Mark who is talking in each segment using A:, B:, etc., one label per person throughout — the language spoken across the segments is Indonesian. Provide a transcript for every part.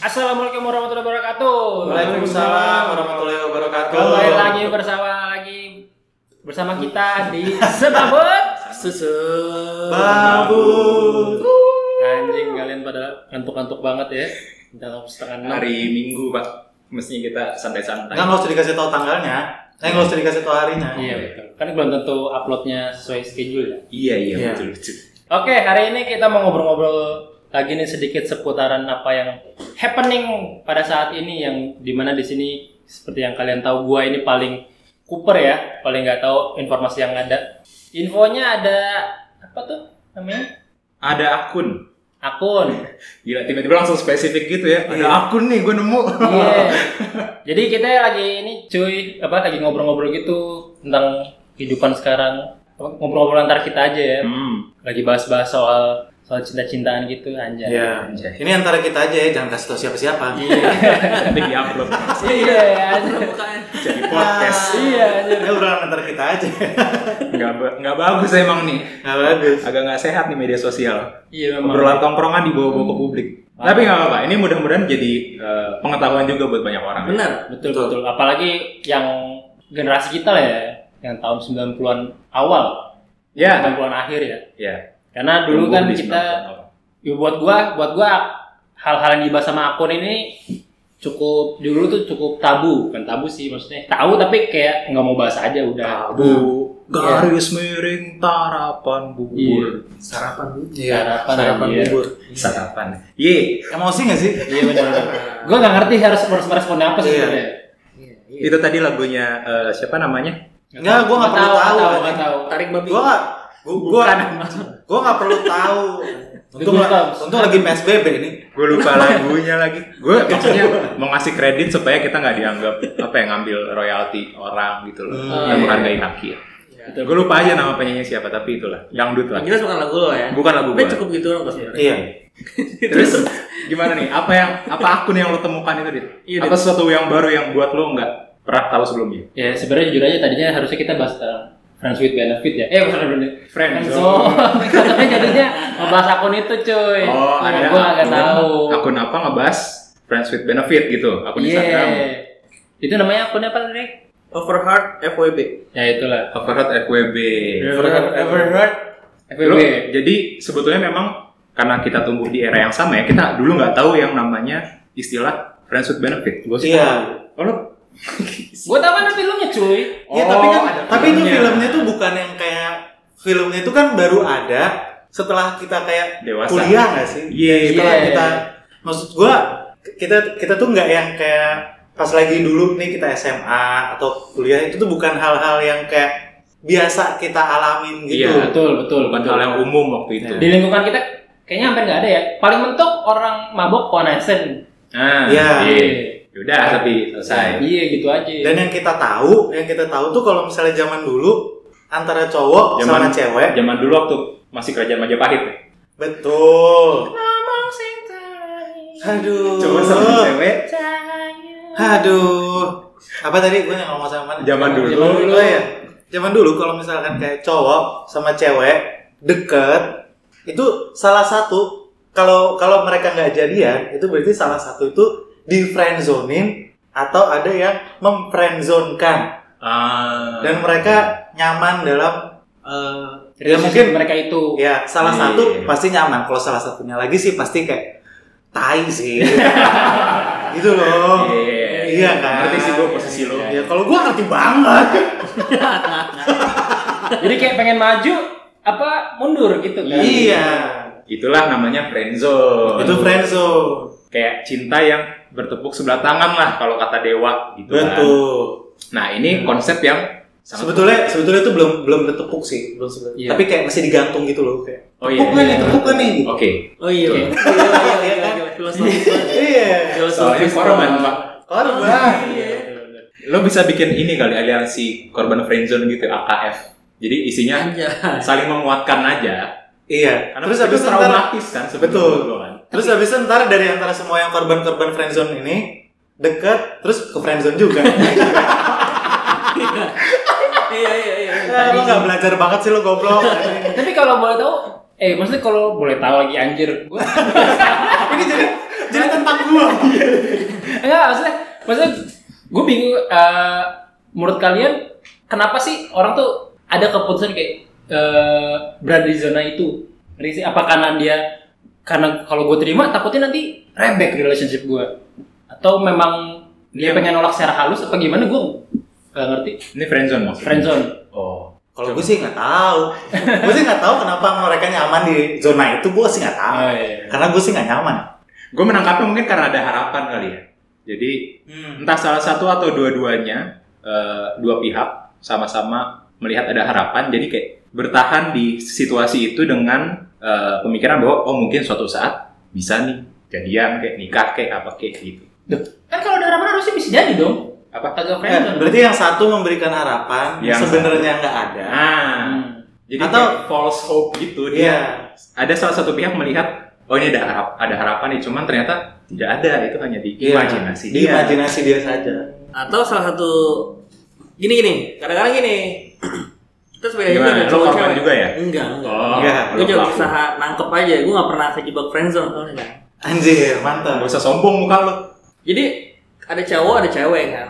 A: Assalamualaikum warahmatullahi wabarakatuh.
B: Waalaikumsalam warahmatullahi wabarakatuh.
A: Kembali lagi bersama lagi bersama kita di Sebabut Susu.
B: Babu.
A: Anjing kalian pada ngantuk-ngantuk banget ya. Kita setengah enam.
C: hari Minggu pak mestinya kita santai-santai
B: Kan nggak usah dikasih tahu tanggalnya. Eh nggak usah dikasih tahu harinya.
A: Iya betul. Kan belum tentu uploadnya sesuai schedule ya.
C: iya iya
B: Iya.
C: betul betul
A: Oke, hari ini kita mau ngobrol-ngobrol lagi nih sedikit seputaran apa yang happening pada saat ini yang dimana di sini seperti yang kalian tahu gua ini paling kuper ya, paling nggak tahu informasi yang ada. Infonya ada apa tuh namanya?
C: ada akun
A: Akun.
C: gila tiba-tiba langsung spesifik gitu ya ada
B: Iya.
C: akun nih gue nemu
A: Iya. Jadi kita lagi ini cuy apa lagi ngobrol-ngobrol gitu tentang kehidupan sekarang. Apa, Ngobrol-ngobrol antar kita aja ya.
C: hmm
A: Lagi bahas-bahas soal soal cinta-cintaan gitu anjay.
B: Iya.
C: Anjay.
B: Ini antara kita aja ya, jangan kasih tahu siapa-siapa.
C: nanti di upload
A: Iya, anjay.
C: jadi podcast
A: Iya, anjir.
B: Ini udah antara kita aja.
C: nggak ba- nggak bagus emang nih
B: Nggak bagus.
C: agak nggak sehat nih media sosial
A: Iya memang.
C: obrolan tongkrongan dibawa-bawa ke publik tapi nggak apa-apa ini mudah-mudahan jadi eh, pengetahuan juga buat banyak orang
B: Benar.
A: Betul, betul Apalagi yang generasi kita lah ya, yang tahun 90-an awal,
C: ya
A: 90-an akhir ya.
C: ya
A: Karena dulu kan
C: Tumbuh di
A: kita
C: 90-an.
A: ya buat gua, buat gua hal-hal yang dibahas sama akun ini cukup dulu tuh cukup tabu, bukan tabu sih maksudnya. Tahu tapi kayak nggak mau bahas aja udah.
C: tabu garis miring tarapan bubur
B: Sarapan dulu.
A: Sarapan,
B: Sarapan
A: iya.
B: bubur.
C: sarapan Iya. ye
B: Emosi nggak sih?
A: Iya benar. gua nggak ngerti harus harus meresponnya apa sih
B: Iya.
A: sebenarnya. Iya.
D: iya.
C: itu tadi lagunya eh, siapa namanya
B: Nggak, gua nggak perlu tahu.
A: Nggak tahu.
D: tarik babi
B: Gua nggak. Gua gua, gua nggak perlu tahu. Untung,
A: Goosebumps.
B: untung lagi PSBB nih.
C: gue lupa lagunya lagi gue maksudnya mau ngasih kredit supaya kita nggak dianggap apa yang ngambil royalti orang gitu
A: Oh,
C: loh
B: Hmm.
A: iya.
C: yang menghargai hak ya
A: Betul.
C: gue lupa aja nama penyanyi siapa tapi itulah dangdut lah
D: yang jelas bukan lagu lo ya
C: bukan lagu
D: tapi
C: gue
D: cukup gitu loh sebenarnya
B: Iya.
C: terus gimana nih apa yang apa akun yang lo temukan itu dit
D: Iya, Dit.
C: apa sesuatu yang baru yang buat lo nggak pernah tahu sebelumnya
A: Ya sebenarnya jujur aja tadinya harusnya kita bahas tentang friends with benefit ya. Eh bukan benefit.
C: Friends.
A: So, tapi jadinya ngebahas akun itu cuy.
C: oh
A: Karena
C: ada
A: Gua agak tahu.
C: akun apa ngebahas friends with benefit gitu akun
A: Iya.
C: Instagram
A: Itu namanya akunnya apa tadi?
D: overheart FWB
A: Ya itulah.
C: Overheard FWB
B: Ever heard- ever heard?
A: FWB.
C: Lu, jadi sebetulnya memang karena kita tumbuh di era yang sama ya, kita dulu nggak tahu yang namanya istilah friends with benefit. Gua suka.
B: Iya.
C: Oh, lu?
A: Gua tahu kan ada filmnya cuy. Oh,
B: Iya tapi kan
C: Oh, ada
B: tapi itu filmnya tuh bukan yang kayak filmnya itu kan baru ada setelah kita kayak
C: Dewasa.
B: kuliah nggak sih?
C: Iya,
B: Setelah
A: Iya.
B: kita maksud gua kita kita tuh nggak yang kayak pas lagi dulu nih kita SMA atau kuliah itu tuh bukan hal-hal yang kayak biasa kita alamin gitu.
C: Iya.
A: Betul betul.
C: bukan
A: betul.
C: hal yang umum waktu itu.
B: Iya.
A: Di lingkungan kita kayaknya hampir nggak ada ya. Paling mentok orang mabok konesen.
C: Nah,
B: Iya.
C: iya. Yaudah, tapi selesai.
A: Iya gitu aja.
B: Dan yang kita tahu, yang kita tahu tuh kalau misalnya zaman dulu antara cowok Oh, sama
C: Zaman-
B: cewek
C: Zaman dulu waktu masih kerajaan Majapahit ya.
B: betul.
A: Ngomong sing tai,
B: Aduh.
C: Cowok sama cewek
A: sayang.
B: Aduh. Apa tadi gue yang ngomong sama mana?
C: zaman dulu.
A: Zaman dulu.
B: Oh iya. Zaman dulu kalau misalkan kayak cowok sama cewek deket itu salah satu kalau kalau mereka nggak jadian itu berarti salah satu itu di friendzonin atau ada yang memfriendzonekan
C: Ah.
B: dan mereka nyaman dalam eh, ya
A: Relationship
B: mungkin
A: mereka itu.
B: ya salah
C: Iya.
B: satu pasti nyaman kalau salah satunya lagi sih pasti kayak tai sih gitu loh
C: Iya.
B: iya kan
C: Ngerti sih gue posisi lo.
B: ya kalau gue ngerti banget
A: Jadi kayak pengen maju apa mundur gitu kan?
B: Iya,
C: Itulah namanya friendzone.
B: itu friendzone.
C: kayak cinta yang bertepuk sebelah tangan lah kalau kata dewa gitu kan.
B: Betul.
C: Nah ini konsep yang sangat
B: Sebetulnya sebetulnya itu belum belum bertepuk sih, belum sebetulnya.
A: Iya.
B: Tapi kayak masih digantung gitu loh kayak.
C: Oh, iya,
B: tepuk nggak
C: iya.
B: nih, tepuk nggak nih.
C: oke.
D: oh iya
C: Betul.
D: iya iya iya iya filosofis banget.
B: Iya.
C: Soalnya
D: filosofis
C: korban
D: banget.
C: pak.
B: Korban.
D: Iya.
B: iya,
C: Lo bisa bikin ini kali aliansi korban friendzone gitu AKF. Jadi isinya
D: Anjay.
C: saling menguatkan aja.
B: Iya.
C: Karena
B: Terus
C: itu
B: habis itu ntar,
C: traumatis kan
B: Betul.
C: sebetulnya. kan.
B: terus habis itu ntar dari antara semua yang korban-korban friendzone ini deket, terus ke friendzone juga.
D: iya iya iya
B: Eh, lo nggak belajar banget sih lo goblok.
A: Tapi kalau boleh tahu, eh maksudnya kalau boleh tahu lagi anjir, gue
B: ini jadi jadi tentang
A: Enggak, maksudnya, maksudnya gue bingung. eh, menurut kalian, kenapa sih orang tuh ada keputusan kayak eh, berada di zona itu? Ngeri sih, Apa karena dia karena kalau gue terima takutnya nanti rebek relationship gue? Atau memang dia
C: Iya.
A: pengen nolak secara halus apa gimana? Gue nggak ngerti.
C: Ini friendzone maksudnya.
A: Friendzone.
C: Oh.
B: Kalau gue sih nggak tahu. gue sih nggak tahu kenapa mereka nyaman di zona itu. Gue sih nggak tahu.
A: Oh, iya.
B: Karena gue sih nggak nyaman.
C: Gue menangkapnya mungkin karena ada harapan kali ya. Jadi entah salah satu atau dua-duanya eh, dua pihak sama-sama melihat ada harapan jadi kayak bertahan di situasi itu dengan eh, pemikiran bahwa oh mungkin suatu saat bisa nih jadian kayak nikah kayak apa kayak gitu
A: Kan kalau ada harapan harusnya bisa jadi dong.
C: apa
A: Kagak
B: Eh,
A: friendzone.
B: berarti yang satu memberikan harapan yang
C: Yang
B: sebenarnya nggak ada.
C: nah
A: Hmm.
C: jadi
B: Atau-
C: kayak false hope gitu
B: Iya.
C: dia ada salah satu pihak melihat oh ini ada harap- ada harapan nih cuman ternyata tidak ada itu hanya di
B: Iya.
C: imajinasi
B: Di
C: dia
B: imajinasi dia saja.
D: Atau salah satu gini gini, kadang-kadang gini. Kita sebagai
C: Gimana?
D: ada
C: Lo
D: cowok-cowok.
C: korban juga ya?
D: Enggak, enggak.
C: oh
B: Iya.
D: Gue
C: lo
D: cuma
C: pelaku.
D: usaha nangkep aja, gue gak pernah terjebak friendzone soalnya kan.
B: Anjir,
C: Gak
B: mantap.
C: usah sombong muka lo
D: Jadi ada cowok ada cewek kan.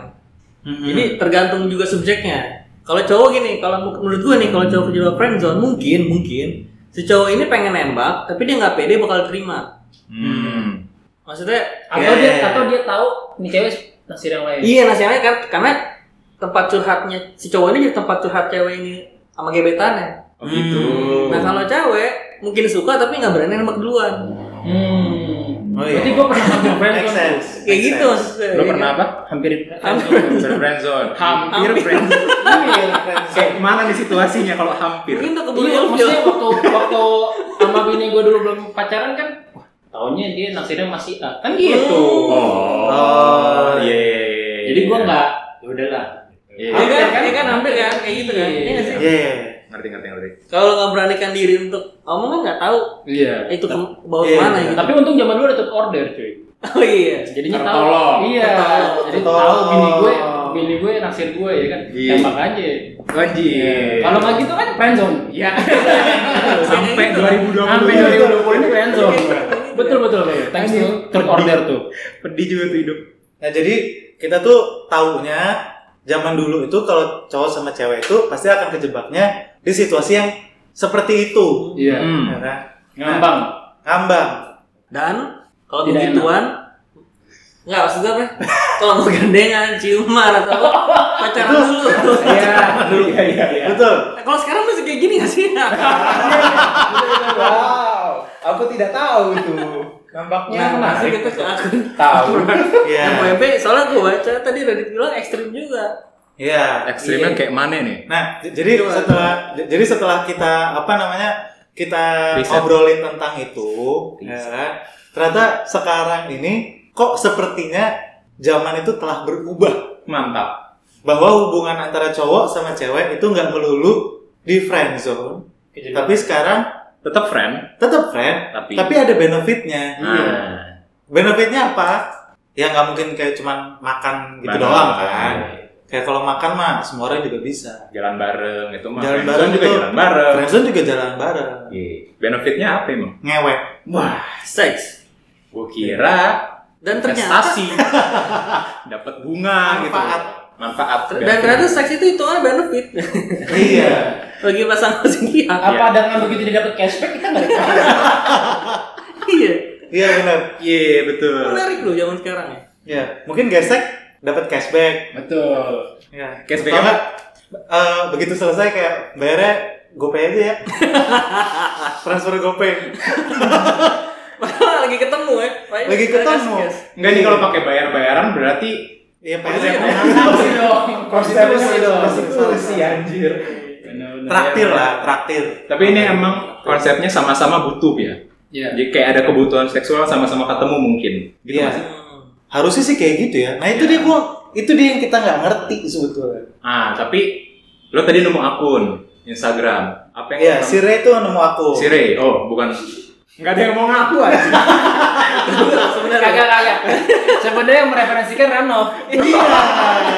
C: Hmm.
D: Jadi tergantung juga subjeknya. Kalau cowok gini, kalau mu- menurut gue nih kalau cowok terjebak friendzone mungkin mungkin si cowok ini pengen nembak tapi dia nggak pede bakal terima.
C: hmm.
D: Maksudnya
A: Atau dia
B: Yeah.
A: atau dia tahu nih cewek naksir yang lain.
D: iya nasihatnya kan karena tempat curhatnya si cowok ini jadi tempat curhat cewek ini sama gebetannya.
C: Oh gitu.
B: Hmm.
D: Nah kalau cewek mungkin suka tapi nggak berani nembak duluan.
A: Hmm.
B: Oh, iya.
A: Berarti gue pernah hampir
B: Make
A: friendzone.
B: sense.
D: Kayak
B: Make
D: gitu
B: sense.
D: maksudnya.
C: Lo pernah apa?
A: Hampir
C: Hampir friendzone. Hampir
D: Hampir.
C: friendzone. Kayak mana nih situasinya kalau hampir?
D: Mungkin tuh keburu
A: Iya,
D: ilfil.
A: maksudnya waktu waktu sama bini gue dulu belum pacaran kan, wah, taunya dia naksirnya masih A kan gitu.
B: Oh,
C: iya.
A: Jadi gue nggak, ya udahlah.
C: Iya.
D: Iya kan,
A: Hampir kan?
D: iya kan hampir kan kayak gitu kan. Iya nggak sih?
B: Iya.
C: Ngerti ngerti ngerti.
D: Kalau lo nggak beranikan diri untuk ngomong kan nggak tahu
A: Iya.
D: itu ke bawah
B: Iya,
D: mana gitu.
A: Tapi untung zaman dulu ada tuh order cuy.
D: Oh iya.
A: Jadinya tahu.
C: Tertolong.
A: Iya.
D: Tertolong.
A: Jadi tahu
B: Tertolong.
A: bini gue, bini gue naksir gue ya kan.
C: Iya.
A: Tembak aja.
C: Wajib.
A: Kalau nggak gitu kan friendzone.
C: ya sampai
D: Kayak gitu.
C: 2020.
A: Sampai 2020 ini friendzone.
D: Iya.
A: Betul betul betul. Thanks
C: Anjing.
A: to third order tuh.
C: Pedih juga tuh hidup.
B: Nah jadi kita tuh taunya zaman dulu itu kalau cowok sama cewek itu pasti akan kejebaknya di situasi yang seperti itu.
A: Iya.
C: Hmm.
B: Ya kan?
A: Ngambang.
B: Ngambang.
D: Dan kalau
A: Tidak
D: begituan Enggak, maksud gue apa? ya? Kalau mau gandengan, ciuman atau apa, pacaran dulu.
C: Iya. Dulu. Iya iya. iya.
B: Betul.
D: Nah, kalau sekarang masih kayak gini gak sih?
E: Wow, aku tidak tahu itu.
A: Iya,
E: Nampaknya
D: Nah, masih
E: menarik.
D: gitu ke aku.
E: Tahu.
B: Iya.
D: FWB, soalnya gue baca tadi Radit bilang ekstrim juga.
B: Iya.
C: Ekstrimnya
D: Iya.
C: kayak mana nih?
B: Nah, j- jadi
D: Gimana?
B: setelah j- jadi setelah kita apa namanya kita
C: Riset.
B: obrolin tentang itu, ya kan? ternyata sekarang ini kok sepertinya zaman itu telah berubah
C: Mantap.
B: bahwa hubungan antara cowok sama cewek itu nggak melulu di friend zone, tapi sekarang
C: Tetap friend
B: tetap friend,
C: Iya. tapi.
B: tapi ada benefitnya.
C: Nah,
B: Benefitnya apa? Ya nggak mungkin kayak cuman makan gitu
C: bareng.
B: doang kan.
C: Iya.
B: Kayak kalau makan mah semua orang juga bisa.
C: Jalan bareng itu mah.
B: Jalan
C: friendzone
B: bareng
C: juga
B: itu-
C: jalan bareng.
B: Friendzone juga jalan bareng.
C: Iya. Benefitnya apa emang?
B: Ngewek.
C: Wah,
D: Seks.
C: gue kira
D: Dan ternyata
C: prestasi dapat
B: Manfaat.
C: bunga gitu manfaat
D: dan ternyata seks itu hitungan benefit
B: Iya.
D: bagi pasangan masing pihak.
A: Apa dengan begitu dia dapat cashback kita nggak dikasih?
D: Iya.
B: Iya benar.
C: iya betul
D: Menarik loh zaman sekarang ya.
B: Iya. Mungkin gesek dapat cashback.
A: Betul.
B: Iya.
C: Cashback
B: Atau
C: apa?
B: nggak, eh, begitu selesai kayak bayarnya GoPay aja ya. Transfer GoPay.
D: Padahal lagi ketemu ya. Pak.
B: Lagi ketemu.
D: Gas, gas.
C: enggak nih kalau pakai bayar bayaran berarti
B: Iya,
D: Iya.
B: PSM.
A: Sanksi dong. Konstitusi
E: Konstitusi
A: dong.
E: Konstitusi anjir.
A: Benar-benar.
B: Traktir lah, traktir.
C: tapi ini emang konsepnya sama-sama butuh ya
A: Iya.
C: jadi kayak ada kebutuhan seksual sama-sama ketemu mungkin gitu
B: Iya.
C: Mas.
D: Hmm.
B: Harusnya sih kayak gitu ya. Nah, itu dia gua itu dia yang kita nggak ngerti sebetulnya.
C: ah tapi lo tadi nemu akun Instagram apa yang
B: Iya,
C: lo-
B: si Ray tuh nemu aku.
C: Si Ray. oh bukan nggak ada yang mau ngaku aja
A: Kagak kagak. Sebenarnya yang mereferensikan Renov.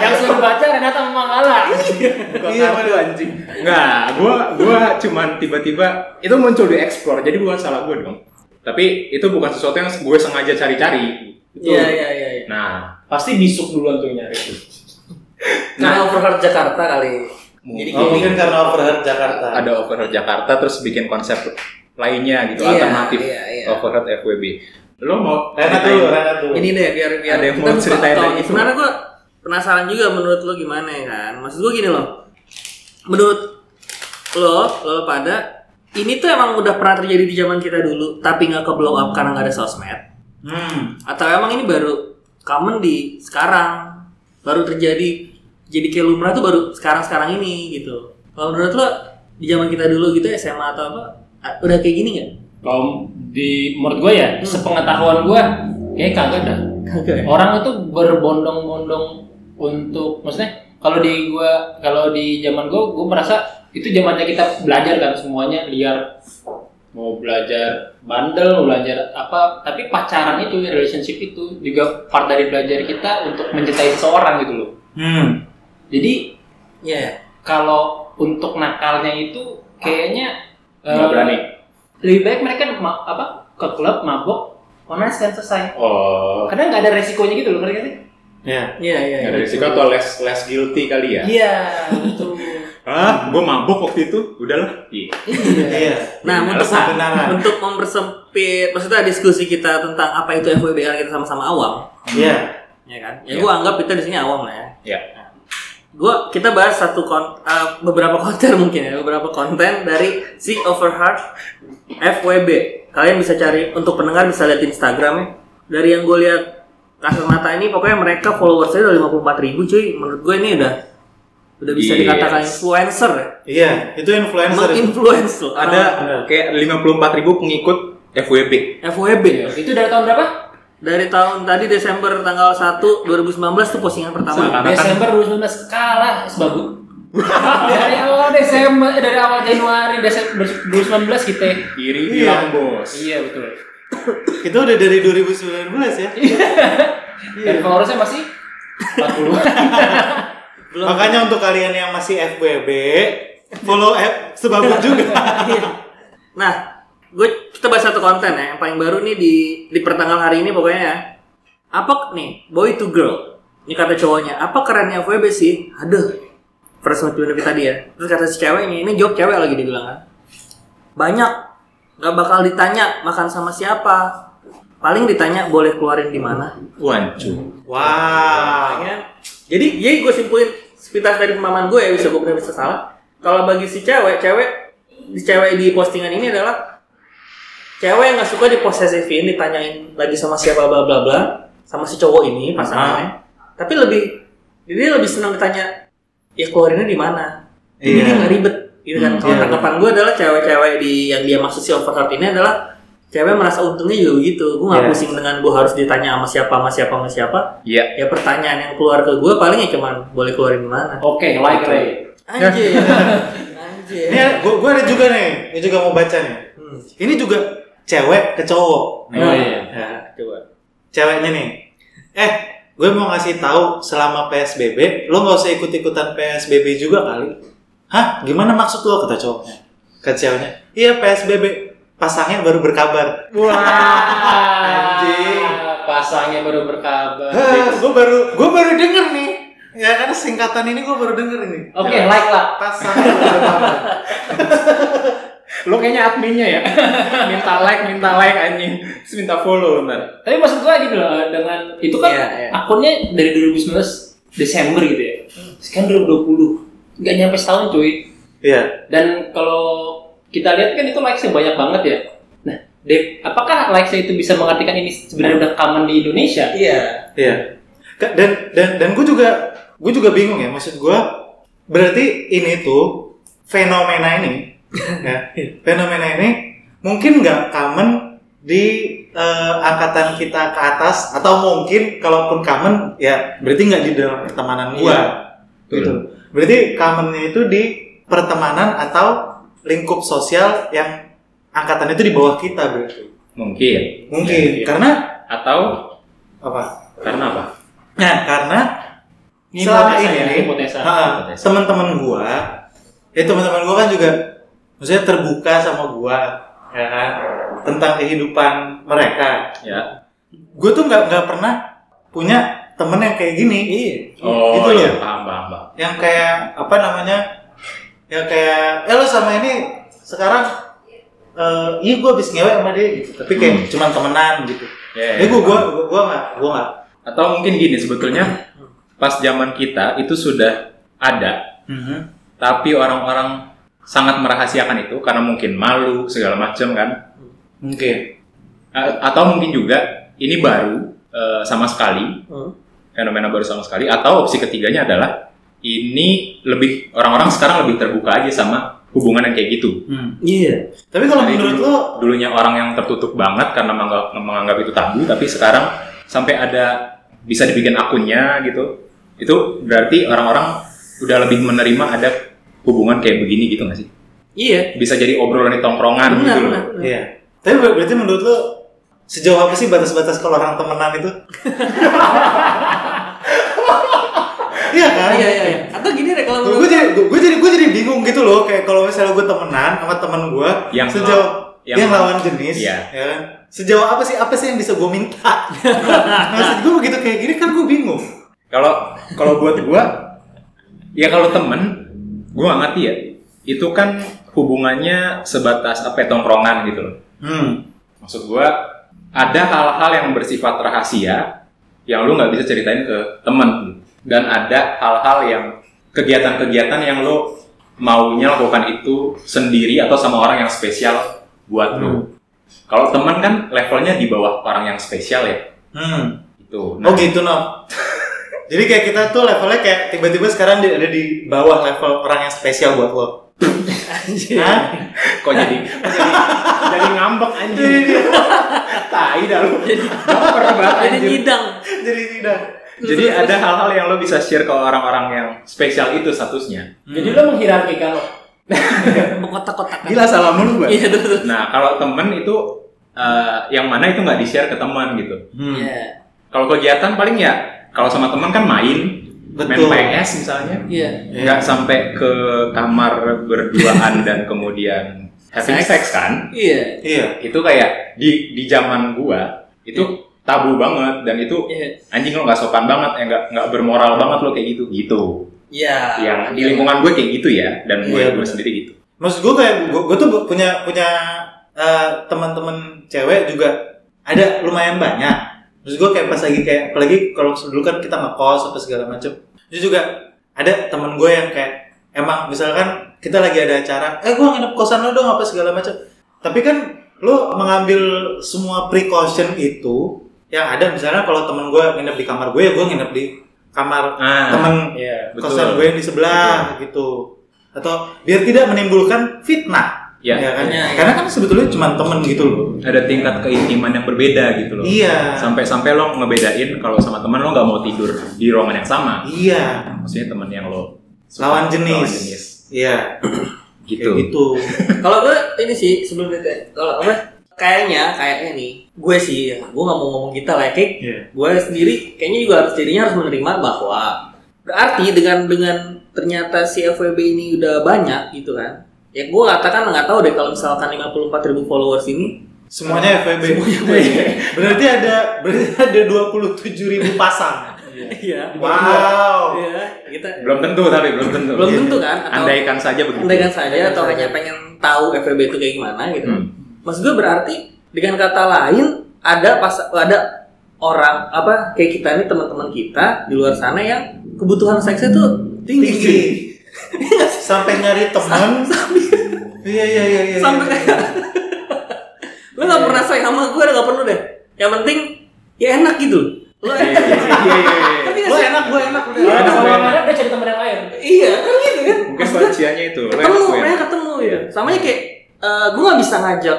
A: Yang suruh baca Renata Mangala.
B: Iya,
E: Kok lu anjing?
C: Nggak, gua gua cuman tiba-tiba itu muncul di explore. Jadi bukan salah gua dong. Tapi itu bukan sesuatu yang gue sengaja cari-cari. Itu.
D: Iya iya iya. iya.
C: Nah,
A: Pasti bisuk duluan tuh nyari.
D: Karena Nah, overheard Jakarta kali. Jadi
C: mungkin
B: Oh, mungkin karena overhead Jakarta.
C: ada overhead Jakarta terus bikin konsep lainnya gitu
D: Iya,
C: alternatif
D: iya, iya.
C: overhead FWB. Lo mau
B: Renat
C: ceritain?
B: dulu, Renat dulu.
D: ini deh biar biar
C: Ada yang
D: kita
C: mau
D: buka
C: ceritain
D: topik.
C: lagi?
D: Sebenarnya gua penasaran juga menurut lo gimana ya kan? Maksud gua gini loh. Menurut lo, lo pada ini tuh emang udah pernah terjadi di zaman kita dulu, tapi nggak ke blow up karena nggak ada sosmed.
B: Hmm.
D: Atau emang ini baru common di sekarang, baru terjadi jadi kayak lumrah tuh baru sekarang-sekarang ini gitu. Kalau menurut lo di zaman kita dulu gitu SMA atau apa a- udah kayak gini nggak?
A: Kalau di menurut gue ya,
D: Hmm.
A: sepengetahuan gue kayak kagak dah.
D: Kagak.
A: Orang itu berbondong-bondong untuk maksudnya kalau di gua kalau di zaman gua gua merasa itu zamannya kita belajar kan semuanya liar mau belajar bandel mau belajar apa tapi pacaran itu relationship itu juga part dari belajar kita untuk mencintai seseorang gitu loh
B: Hmm.
A: jadi
D: Iya.
A: kalau untuk nakalnya itu kayaknya
C: Nggak
A: eh,
C: berani.
A: lebih baik mereka ma- apa ke klub mabok onas dan selesai
C: Oh,
A: karena nggak ada resikonya gitu loh ngerti nggak sih
B: Ya.
D: Iya iya.
C: nggak
D: iya.
C: ada risiko atau less less guilty kali ya?
A: iya betul
C: Ah, gue mabuk waktu itu, udahlah. Iya.
B: Iya.
D: Nah,
B: Ada
D: untuk
B: kebenaran.
D: untuk mempersempit maksudnya diskusi kita tentang apa itu FWB karena kita sama-sama awam,
B: Iya.
D: ya kan?
C: Iya.
D: Ya gua anggap kita di sini awam lah ya.
C: Iya.
D: Nah, Gua kita bahas satu kon, eh, beberapa konten mungkin ya, beberapa konten dari si Overheart FWB. Kalian bisa cari untuk pendengar bisa lihat Instagramnya. Dari yang gue lihat kasat mata ini pokoknya mereka followersnya udah 54 ribu cuy. Menurut gue ini udah udah bisa
C: Yes.
D: dikatakan influencer ya.
B: Iya, itu influencer. itu.
D: Menginfluence loh.
C: Ada
B: benar.
C: kayak 54.000 ribu pengikut FWB.
D: FWB
A: Iya.
D: ya.
A: itu dari tahun berapa
D: Dari tahun tadi Desember tanggal 1 2019 tuh postingan pertama.
C: Sekarang. Karena kan-
A: Desember 2019 kalah sebagus dari awal Desember eh, dari awal Januari Desember 2019 kita
B: Iya.
C: Iri bilang bos.
A: iya betul
B: Itu udah dari 2019
A: Iya.
B: ya.
A: dan followersnya masih 40
D: Belum.
B: Makanya untuk kalian yang masih FWB, follow app sebabut juga.
D: Nah, gue kita bahas satu konten ya yang paling baru nih di di pertanggal hari ini pokoknya ya. Apa nih boy to girl? Ini kata cowoknya. Apa kerennya FWB sih? Aduh. First match benefit tadi ya. Terus kata si ceweknya, ini jawab cewek lagi dibilang kan. Banyak nggak bakal ditanya makan sama siapa. Paling ditanya boleh keluarin di mana.
C: Wancu.
B: Wow.
D: kan? Jadi, jadi gue simpulin sepintas dari pemahaman gue ya bisa gue benar bisa salah. Kalau bagi si cewek, cewek di cewek di postingan ini adalah cewek yang nggak suka diposesifin, ditanyain lagi sama siapa bla bla bla, sama si cowok ini pasangannya. Tapi lebih dia lebih senang ditanya ya keluarinnya di mana. Jadi
B: Iya.
D: dia nggak ribet gitu kan.
B: Hmm,
D: Kalau
B: iya.
D: tanggapan gue adalah cewek-cewek di yang dia maksud si overheard ini adalah cewek merasa untungnya juga gitu. Gue nggak
B: Iya.
D: pusing dengan gue harus ditanya sama siapa, sama siapa, sama siapa
C: Iya.
D: ya pertanyaan yang keluar ke gue paling ya cuman boleh keluarin mana
A: oke like Ray
D: anjir
B: Ini
D: anjir
B: gua, gua ada juga nih, ini juga mau baca nih.
D: hmm,
B: Ini juga cewek ke cowok.
A: oh iya
B: Ya,
D: coba
B: ceweknya nih. Eh, gue mau ngasih tahu selama PSBB, lo nggak usah ikut-ikutan PSBB juga kali. Hah? Gimana maksud lo kata cowoknya? Kata ceweknya, iya PSBB. Pasangnya baru berkabar. Anjing.
A: Ah, pasangnya baru berkabar
B: Hah, gue baru gue baru denger nih. Ya karena singkatan ini gue baru denger ini.
A: oke like lah
B: Pasangnya baru berkabar.
C: Lo kayaknya adminnya ya. minta like, minta like anjing. Terus minta follow ntar.
A: Tapi maksud gue gini loh, dengan itu kan
D: Iya, iya.
A: akunnya dari 2019 Desember gitu ya. Sekarang 2020, nggak nyampe setahun cuy.
B: Iya.
A: Dan kalau kita lihat kan itu likes-nya banyak banget ya. Nah, Dave, apakah likes-nya itu bisa mengartikan ini sebenarnya udah common di Indonesia?
D: iya
B: Iya. Ka- Dan dan dan gue juga gue juga bingung ya maksud gue berarti ini tuh fenomena ini ya fenomena ini mungkin nggak common di eh, angkatan kita ke atas atau mungkin kalaupun common ya berarti nggak di dalam pertemanan gue
C: Iya.
B: gitu berarti commonnya itu di pertemanan atau lingkup sosial yang angkatan itu di bawah kita berarti
C: Mungkin.
B: mungkin
C: Iya.
B: karena
C: Atau
B: apa
C: karena apa?
B: nah karena
A: Ini
B: selama
A: hipotesa
B: ini
A: ya,
B: nih,
A: hipotesa.
B: ha-ha,
C: Hipotesa.
B: teman-teman gua, ya teman-teman gua kan juga, maksudnya terbuka sama gua, ya kan? Tentang kehidupan mereka.
C: Ya.
B: Gue tuh nggak nggak pernah punya temen yang kayak gini. Iya.
C: Oh,
B: gitu loh.
C: iya, paham, paham, paham.
B: Yang kayak apa namanya? Yang kayak, eh lo sama ini sekarang eh iya gue abis ngewe sama dia gitu. Tapi kayak
C: Hmm.
B: cuman temenan gitu.
C: Ya, ya,
B: Eh gue gue gue gue nggak gue nggak.
C: Atau mungkin gini sebetulnya pas zaman kita itu sudah ada, tapi orang-orang sangat merahasiakan itu karena mungkin malu segala macam kan.
B: Mungkin.
C: A- atau mungkin juga ini baru eh, sama sekali fenomena baru sama sekali atau opsi ketiganya adalah ini lebih orang-orang sekarang lebih terbuka aja sama hubungan yang kayak gitu
D: Iya.
B: Tapi kalau
C: Jadi
B: menurut
C: dulu-
B: lo,
C: dulunya orang yang tertutup banget karena mangga- menganggap itu tabu tapi sekarang sampai ada bisa dibikin akunnya gitu itu berarti orang-orang udah lebih menerima ada hubungan kayak begini gitu nggak sih
D: Iya.
C: bisa jadi obrolan di tongkrongan
D: Benar,
C: gitu loh
D: benar. benar.
B: Iya. Tapi ber- berarti menurut lo sejauh apa sih batas-batas kalau orang temenan itu? Iya kan?
D: Iya, iya, iya. Atau gini deh kalau
B: Gue jadi gue jadi gue jadi bingung gitu loh kayak kalau misalnya gue temenan sama teman gue
C: Yang
B: sejauh yang,
C: yang-
B: lawan jenis
C: Iya.
B: ya kan? Sejauh apa sih apa sih yang bisa gue minta? Maksud gue begitu kayak gini kan gue bingung.
C: Kalau kalau buat gua ya kalau temen gua gak ngerti ya. Itu kan hubungannya sebatas apa ya, tongkrongan gitu loh.
B: Hmm.
C: Maksud gua ada hal-hal yang bersifat rahasia yang lu nggak bisa ceritain ke temen dan ada hal-hal yang kegiatan-kegiatan yang lu maunya lakukan itu sendiri atau sama orang yang spesial buat lu. Kalau temen kan levelnya di bawah orang yang spesial ya.
B: Hmm.
C: Itu.
B: Oh
C: Nah,
B: gitu no. Jadi kayak kita tuh levelnya kayak tiba-tiba sekarang di- ada di bawah level orang yang spesial buat lo. Hah?
C: kok jadi jadi ngambek anjing tai dah lu Baper banget,
D: Jadi
C: anjing.
D: nyidang.
B: Jadi tidak.
C: jadi ada hal-hal yang lo bisa share ke orang-orang yang spesial itu statusnya
A: Hmm. Jadi lo menghierarkikan lo.
D: Mengkotak-kotakan.
B: Gila salah mulu gue.
D: Iya, betul.
C: nah kalau temen itu eh, yang mana itu nggak di share ke teman gitu
B: Hmm,
D: Iya.
C: kalau kegiatan paling ya kalau sama teman kan main
B: Betul.
C: main PS misalnya
D: Iya.
C: nggak sampai ke kamar berduaan dan kemudian having sex kan
D: Iya.
B: Iya.
C: itu kayak di di zaman gua itu tabu banget dan itu
D: Iya.
C: anjing lo nggak sopan banget ya nggak nggak bermoral banget lo kayak gitu gitu
D: Iya.
C: yang di lingkungan gue kayak gitu ya dan gue
B: Iya,
C: gue
B: bener.
C: sendiri gitu
B: Maksud gue kayak gue, gue tuh punya punya eh, teman-teman cewek juga ada lumayan banyak. Terus gue kayak pas lagi kayak apalagi kalau dulu kan kita ngekos apa segala macem. Itu juga ada teman gue yang kayak emang misalkan kita lagi ada acara, eh gue nginep kosan lo dong apa segala macem. Tapi kan lo mengambil semua precaution itu yang ada misalnya kalau teman gue nginep di kamar gue ya gue nginep di kamar
C: Ah,
B: teman
A: Iya.
C: betul.
B: kosan gue yang di sebelah gitu atau biar tidak menimbulkan fitnah
C: Ya.
B: kan?
D: Ya, ya.
B: karena kan sebetulnya cuma temen gitu loh
C: ada tingkat keintiman yang berbeda gitu loh
B: Iya.
C: sampai sampai lo ngebedain kalau sama teman lo nggak mau tidur di ruangan yang sama
B: iya
C: maksudnya teman yang lo suka,
B: lawan jenis,
C: lawan jenis.
B: iya
C: gitu
B: kayak gitu
D: Kalau gue ini sih sebelum itu kalau apa? Kayaknya, kayaknya nih, gue sih, ya, gue nggak mau ngomong kita lah, ya, kayak
B: Iya.
D: gue sendiri kayaknya juga harus dirinya harus menerima bahwa berarti dengan dengan ternyata si FWB ini udah banyak gitu kan ya gue katakan nggak tahu deh kalau misalkan 54.000 followers ini
B: semuanya FVB Iya. berarti ada berarti ada 27.000 ribu pasang
D: iya
B: wow
D: iya kita
C: belum tentu tapi belum tentu
D: belum tentu kan atau
C: Iya. andaikan saja begitu
D: andaikan saja atau hanya pengen tahu FWB itu kayak gimana gitu
C: Hmm.
D: Maksud gue berarti dengan kata lain ada pas ada orang apa kayak kita nih teman-teman kita di luar sana yang kebutuhan seksnya tuh tinggi.
B: tinggi sampai nyari teman iya iya iya iya
D: Sampai
B: iya.
D: kayak lo nggak pernah sayang sama gue nggak perlu deh. Yang penting ya enak gitu. Lo
C: Iya,
D: enak.
C: iya, iya, iya, iya.
D: Tapi ya
B: gue enak gue enak udah.
A: Iya,
C: Ada
A: kalau
C: banyak.
A: orang ada dia cari teman yang lain.
D: Iya kan gitu kan.
C: mungkin
D: Maksud gue
C: kunciannya itu lo
D: ketemu,
C: lakuin.
D: mereka ketemu ya. Samanya kayak eh, gue nggak bisa ngajak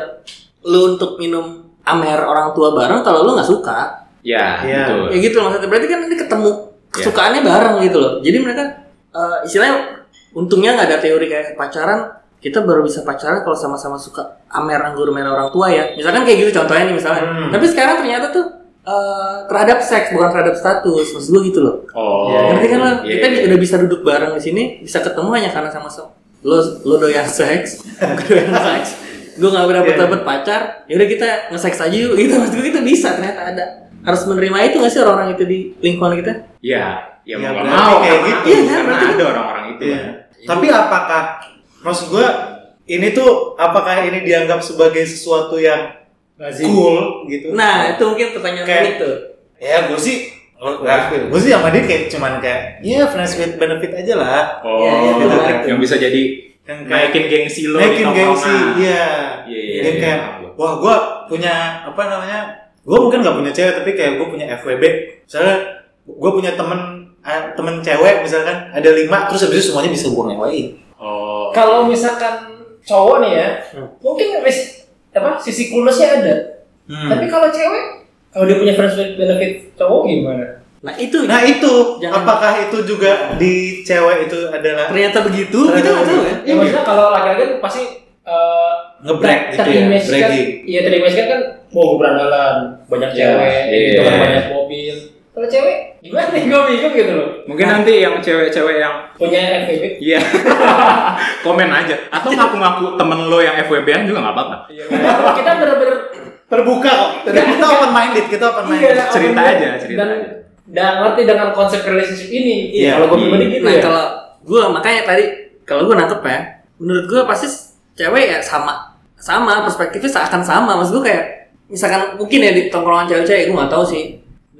D: lo untuk minum amer orang tua bareng kalau lo nggak suka.
C: ya
B: Iya.
C: betul
D: ya gitu loh maksudnya berarti kan ini ketemu kesukaannya bareng gitu loh jadi mereka eh, istilahnya untungnya nggak ada teori kayak pacaran kita baru bisa pacaran kalau sama-sama suka amer anggur merah orang tua ya misalkan kayak gitu contohnya nih misalnya
B: Hmm.
D: tapi sekarang ternyata tuh eh, terhadap seks bukan terhadap status maksud gue gitu loh
C: oh
D: Ngerti kan lo?
C: iya,
D: kita
C: iya.
D: udah bisa duduk bareng di sini bisa ketemu hanya karena sama-sama lo lo doyan seks gue doyan seks gue nggak pernah
B: Iya.
D: dapet pacar ya udah kita nge-sex aja yuk gitu maksud gue kita bisa ternyata ada harus menerima itu nggak sih orang-orang itu di lingkungan kita
C: Iya,
B: Ya,
C: ya mau nggak
B: berarti
C: mau
B: kayak
C: karena-
B: gitu.
D: Iya, kan,
C: karena
D: berarti-
C: ada orang-orang itu
B: Iya.
C: kan.
B: Tapi apakah maksud gue ini tuh apakah ini dianggap sebagai sesuatu yang cool gitu?
D: nah itu mungkin pertanyaan
B: Kayak-
D: unik tuh
B: Ya gue sih nggak. Gue sih sama dia kayak cuman kayak ya friends with benefit aja lah.
C: Oh,
D: Iya, iya, benar.
C: yang bisa jadi
B: Yang Kan kayak
C: naikin gengsi lo
B: naikin gengsi, iya.
C: Iya, iya,
B: Dia
C: iya.
B: kayak wah gue punya apa namanya? Gue mungkin nggak punya cewek tapi kayak gue punya FWB. Misalnya gue punya temen eh, temen cewek misalkan ada lima terus habis itu semuanya bisa gue ngewain
C: Oh.
A: Kalau misalkan cowok nih ya,
D: Hmm.
A: mungkin ris- apa sisi coolness-nya ada.
C: Hmm.
D: Hmm.
A: Tapi kalau cewek, kalau dia punya friends with benefit cowok gimana?
D: nah itu
B: Nah itu,
D: Jangan.
B: apakah itu juga di cewek itu adalah
D: ternyata begitu kita nggak tahu ya
A: Ya maksudnya kalau laki-laki kan pasti eh,
B: ngebrek gitu ya,
A: terimajinkan,
B: bragging.
A: iya terimajinkan kan, wah gue berandalan, banyak
C: Iya,
A: cewek,
C: iya.
A: gitu kan, banyak mobil. Kalau cewek, gimana nih gue bingung gitu loh.
C: Mungkin nanti yang cewek-cewek yang
A: Punya FVB,
C: Iya. Komen aja. Atau ngaku-ngaku temen lo yang FWB-an juga nggak apa-apa.
A: kita bener-bener
B: Terbuka kok. Terbuka gitu, kita open minded, kita open minded.
A: Iya.
C: Cerita
A: Apa
C: aja,
A: namanya?
C: cerita
A: Dan-
C: aja.
A: nggak ngerti dengan konsep relationship ini.
B: Iya.
A: Kalau gue pribadi gitu
D: nah
A: ya.
D: kalau gue makanya tadi kalau gue nangkep ya menurut gue pasti cewek ya sama sama perspektifnya seakan sama maksud gue kayak misalkan mungkin ya di tongkrongan cewek-cewek gue nggak tahu sih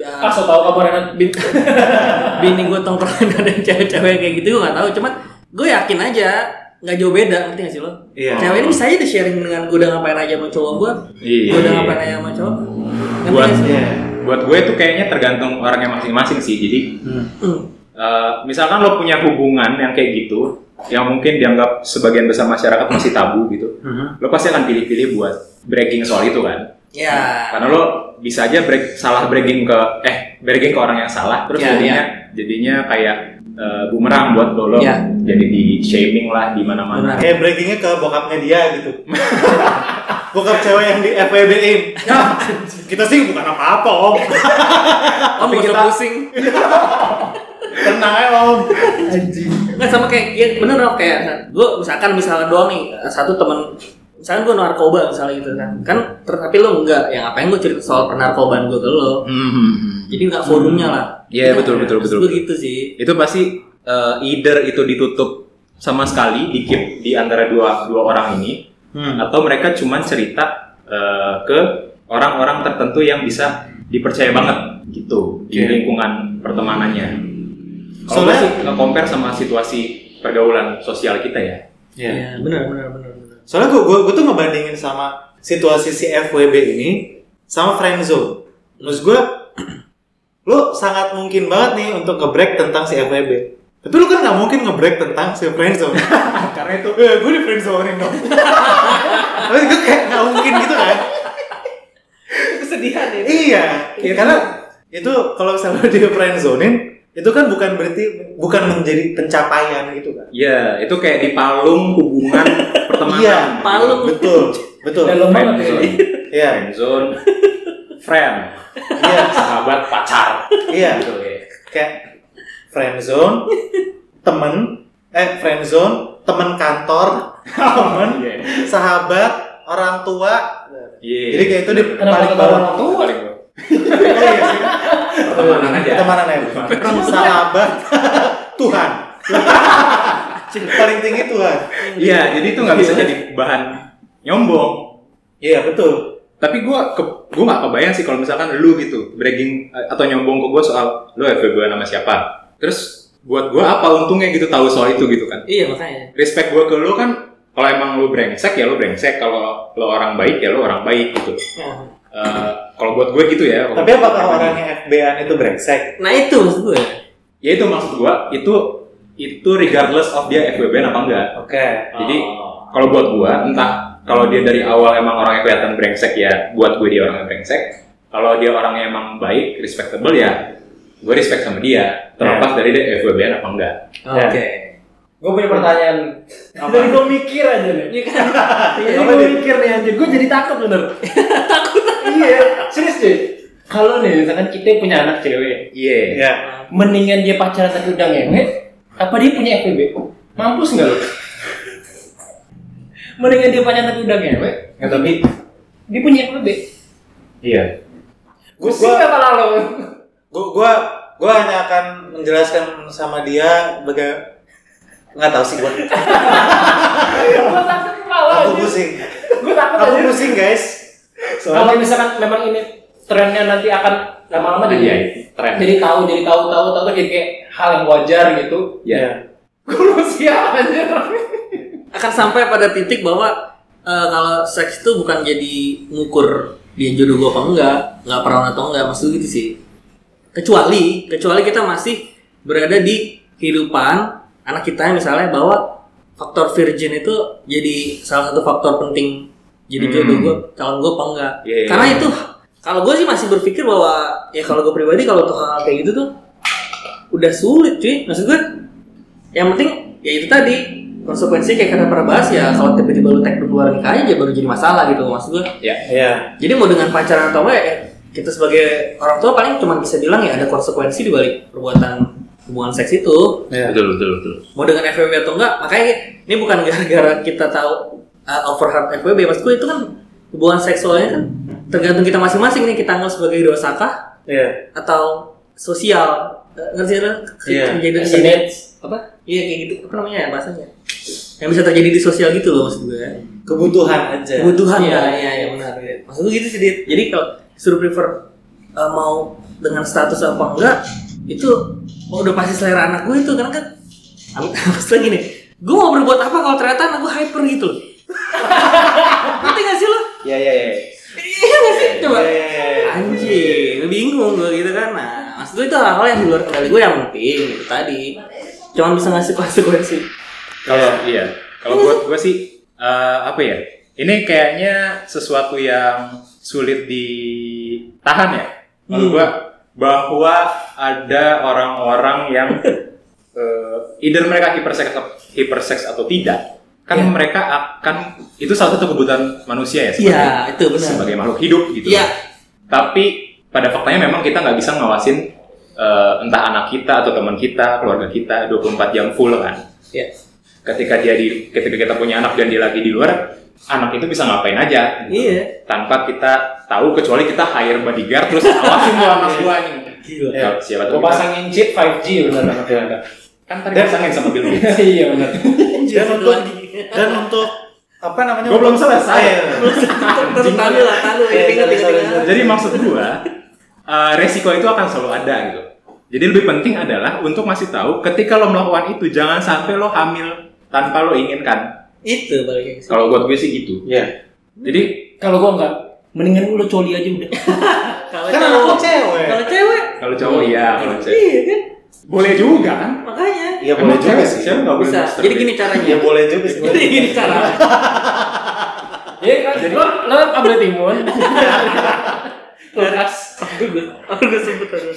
A: Ah,
D: Dan
A: so tau kabar Renat.
D: bin- bini gue tongkrongan ada yang cewek-cewek kayak gitu gue nggak tahu cuman gue yakin aja nggak jauh beda ngerti nggak sih lo
B: Iya.
D: cewek ini bisa aja di sharing dengan gue udah ngapain aja sama cowok gue
C: Iya.
D: gue udah ngapain aja sama cowok Ngerti
C: Buat-
D: nggak sih?
B: Iya.
C: Buat gue itu kayaknya tergantung orangnya masing-masing sih. Jadi
D: Hmm.
C: eh, misalkan lo punya hubungan yang kayak gitu, yang mungkin dianggap sebagian besar masyarakat masih tabu gitu,
D: Mm-hmm.
C: lo pasti akan pilih-pilih buat breaking soal itu kan.
D: ya
C: Karena lo bisa aja break, salah breaking ke eh breaking ke orang yang salah, terus
D: Iya,
C: jadinya jadinya kayak eh, bumerang buat lo, lo
D: Iya.
C: jadi di shaming lah di mana-mana.
D: Benar.
B: Kayak breakingnya ke bokapnya dia gitu. Bokap cewek yang di FWB in. kita sih bukan apa-apa om.
D: oh bikin
C: kita-
D: pusing
B: Tenang ya om.
D: Nggak sama kayak ya bener loh kayak gue misalkan misalkan doang nih satu temen misalkan gue narkoba misalnya gitu kan kan ter- tapi lo enggak ya ngapain gue cerita soal penarkobaan gue ke lo
C: Hmm.
D: jadi nggak forumnya lah
C: Iya, betul, betul, betul,
D: gue
C: betul.
D: gitu sih
C: itu pasti eh, either itu ditutup sama sekali di keep di antara dua dua orang ini
B: Hmm.
C: atau mereka cuman cerita eh, ke orang-orang tertentu yang bisa dipercaya banget gitu di
B: Oke.
C: lingkungan pertemanannya. Kalau gue
B: Soalnya-
C: sih nggak compare sama situasi pergaulan sosial kita ya.
D: ya bener bener bener bener
B: Soalnya gue gue tuh ngebandingin sama situasi si FWB ini sama friendzone. Terus gue lo sangat mungkin banget nih untuk nge-break tentang si FWB. Tapi lu kan nggak mungkin nge-break tentang si friendzone. Karena itu eh, gue di friendzonein dong. Tapi gue kayak nggak mungkin gitu kan.
D: kesedihan ya
B: iya. Karena itu kalau misalnya di friendzonein itu kan bukan berarti bukan menjadi pencapaian gitu kan.
C: Iya, itu kayak di palung hubungan pertemanan.
B: Iya,
D: palung.
B: Betul, betul.
A: Dalam banget ya.
C: Friendzone,
B: Iya,
C: friendzone, friend,
B: iya,
C: sahabat, pacar.
B: iya.
C: Gitu ya.
B: kayak friendzone temen eh friendzone temen kantor temen
C: Iya.
B: sahabat orang tua
C: Iya.
B: jadi kayak itu di
A: Kenapa
B: paling
A: kata
B: bawah
A: orang tua?
C: Paling bawah.
B: oh, iya sih.
C: Pertemanan aja.
B: pertemanan ya sahabat Tuhan paling tinggi Tuhan
C: Iya, jadi itu nggak bisa jadi bahan nyombong.
B: iya betul
C: Tapi gue ke, gue nggak kebayang sih kalau misalkan lu gitu bragging eh, atau nyombong ke gue soal lu FWB nama siapa. Terus buat gue apa untungnya gitu tahu soal itu gitu kan?
D: iya makanya
C: Respect gue ke lu kan kalau emang lu brengsek ya lu brengsek, kalau lu orang baik ya lu orang baik gitu.
D: Nah,
C: Eh, kalau buat gue gitu ya.
B: tapi apakah orangnya FB-an itu brengsek
D: nah itu maksud gue
C: Ya itu maksud gue itu itu regardless of dia FWB apa enggak.
B: oke
C: Jadi
B: Oh.
C: kalau buat gua entah kalau dia dari awal emang orangnya kelihatan brengsek ya buat gue dia orangnya brengsek. Kalau dia orangnya emang baik, respectable ya gue respect sama dia terlepas dari dia FWB apa enggak.
B: Ya.
D: oke
A: Gue punya pertanyaan. Jadi gue mikir aja nih.
D: Iya kan
A: Jadi
B: Apa
A: gue
B: nih?
A: mikir nih anjir, gue jadi takut bener. takut? iya, serius cuy. Kalau nih, misalkan kita punya anak cewek,
C: Iya.
B: ya
A: mendingan dia pacaran tapi udah ngewet, apa dia punya FPB? Mampus nggak lo? Mendingan dia pacaran tapi udah ngewe.
C: Nggak, tapi
A: Dia punya yang lebih.
C: iya.
A: Pusing
B: gua-
A: apa lah lo?
B: gua gua gua hanya akan menjelaskan sama dia baga nggak tahu sih gua
A: Gue sakit kepala.
B: aku
A: anjir.
B: pusing
A: Gua takut
B: aku
A: aja.
B: pusing guys
A: Kalau misalkan memang ini trennya nanti akan lama-lama jadi
C: Iya, tren.
A: jadi tahu jadi tahu tahu tahu tuh jadi kayak hal yang wajar gitu.
C: Iya.
B: ya.
A: Gue belum siap anjir.
D: akan sampai pada titik bahwa eh, kalau seks itu bukan jadi ngukur dia jodoh gua apa enggak, nggak perawan atau enggak, maksud gitu sih. Kecuali, kecuali kita masih berada di kehidupan anak kita misalnya bahwa faktor virgin itu jadi salah satu faktor penting jadi
C: Hmm.
D: jodoh gua, calon gua apa enggak.
C: Iya, iya,
D: Karena
C: iya.
D: itu kalau gua sih masih berpikir bahwa ya kalau gua pribadi kalau untuk hal kayak gitu tuh udah sulit cuy. Maksud gua yang penting ya itu tadi konsekuensi kayak kata pernah bahas ya kalau tiba-tiba lu tag keluar nikah aja baru jadi masalah gitu maksud gue
C: Iya.
B: ya
D: jadi mau dengan pacaran atau enggak ya kita sebagai orang tua paling cuma bisa bilang ya ada konsekuensi di balik perbuatan hubungan seks itu
C: Betul, betul, betul.
D: mau dengan FWB atau enggak makanya ini bukan gara-gara kita tahu uh, overheard FWB maksud gue itu kan hubungan seksualnya kan tergantung kita masing-masing nih kita anggap sebagai dosa kah
B: ya
D: atau sosial Eh, ngerti kan
B: Iya.
A: As
D: kejadian
A: a
D: kejadian
A: needs.
D: apa iya kayak gitu apa namanya ya bahasanya yang bisa terjadi di sosial gitu loh maksud gue
B: kebutuhan aja
D: kebutuhan
A: Iya,
D: kan?
A: iya, iya,
D: benar maksud gue gitu sih Dit. jadi kalau suruh prefer eh, mau dengan status apa enggak itu oh, udah pasti selera anak gue itu karena kan maksudnya gini gue mau berbuat apa kalau ternyata anak gue hyper gitu loh ngerti gak sih lo
C: Iya, iya, iya.
D: iya gak sih coba
B: Ya, ya, ya, ya.
D: Anjir, bingung gue gitu kan. Nah, maksud gue itu hal-hal yang di luar kendali gue yang penting gitu tadi. Cuman bisa ngasih konsekuensi.
C: Kalau iya, kalau buat gue sih eh, apa ya? Ini kayaknya sesuatu yang sulit ditahan ya. Kalau
D: Hmm.
C: gue bahwa ada orang-orang yang eh, either mereka hiperseks hiperseks atau tidak, kan
D: Iya.
C: mereka akan itu salah satu kebutuhan manusia ya sebagai,
D: Iya, itu benar.
C: sebagai makhluk hidup gitu.
D: Iya,
C: Tapi pada faktanya memang kita nggak bisa ngawasin eh, entah anak kita atau teman kita, keluarga kita 24 jam full kan
D: iya.
C: ketika dia di ketika kita punya anak dan dia lagi di luar anak itu bisa ngapain aja gitu.
D: Iya.
C: tanpa kita tahu kecuali kita hire bodyguard terus awasin tuh
B: Iya.
C: anak gua anjing
D: Gila.
C: Ya, siapa
A: Gue
C: tahu kita-
A: pasangin chip 5G benar benar benar.
C: kan tadi pasangin sama Bill Gates
A: Iya benar.
B: dan
D: Satu
B: untuk
D: lagi.
B: dan untuk apa namanya
C: Gua belum selesai.
B: Ah, iya.
D: Terus tadi lah, tadi
B: Iya, sorry,
D: ingat ingat
B: sorry,
D: ingat.
B: sorry.
C: jadi maksud gua eh, resiko itu akan selalu ada gitu jadi lebih penting adalah untuk masih tahu ketika lo melakukan itu jangan sampai lo hamil tanpa lo inginkan
D: Itu balik lagi.
C: kalau buat gue sih gitu
B: Iya.
C: jadi
A: Kalau gue enggak, mendingan lu coli aja udah.
D: Kalau
B: kan anak lo
D: cowok,
B: cewek
D: kalau cewek,
C: kalau cowok iya kalau cewek
D: iya kan?
C: boleh juga kan
D: Makanya
B: Iya
C: Emang
B: boleh juga
C: cewek-
B: sih.
C: cewek nggak boleh
D: bisa.
C: masturbate?
D: Jadi gini
B: Iya
D: caranya.
B: boleh juga sih.
D: Jadi gini caranya.
A: Iya kan? Lo lo ambil timun.
D: iya.
A: Kulkas.
D: Aku gak sebut tadi.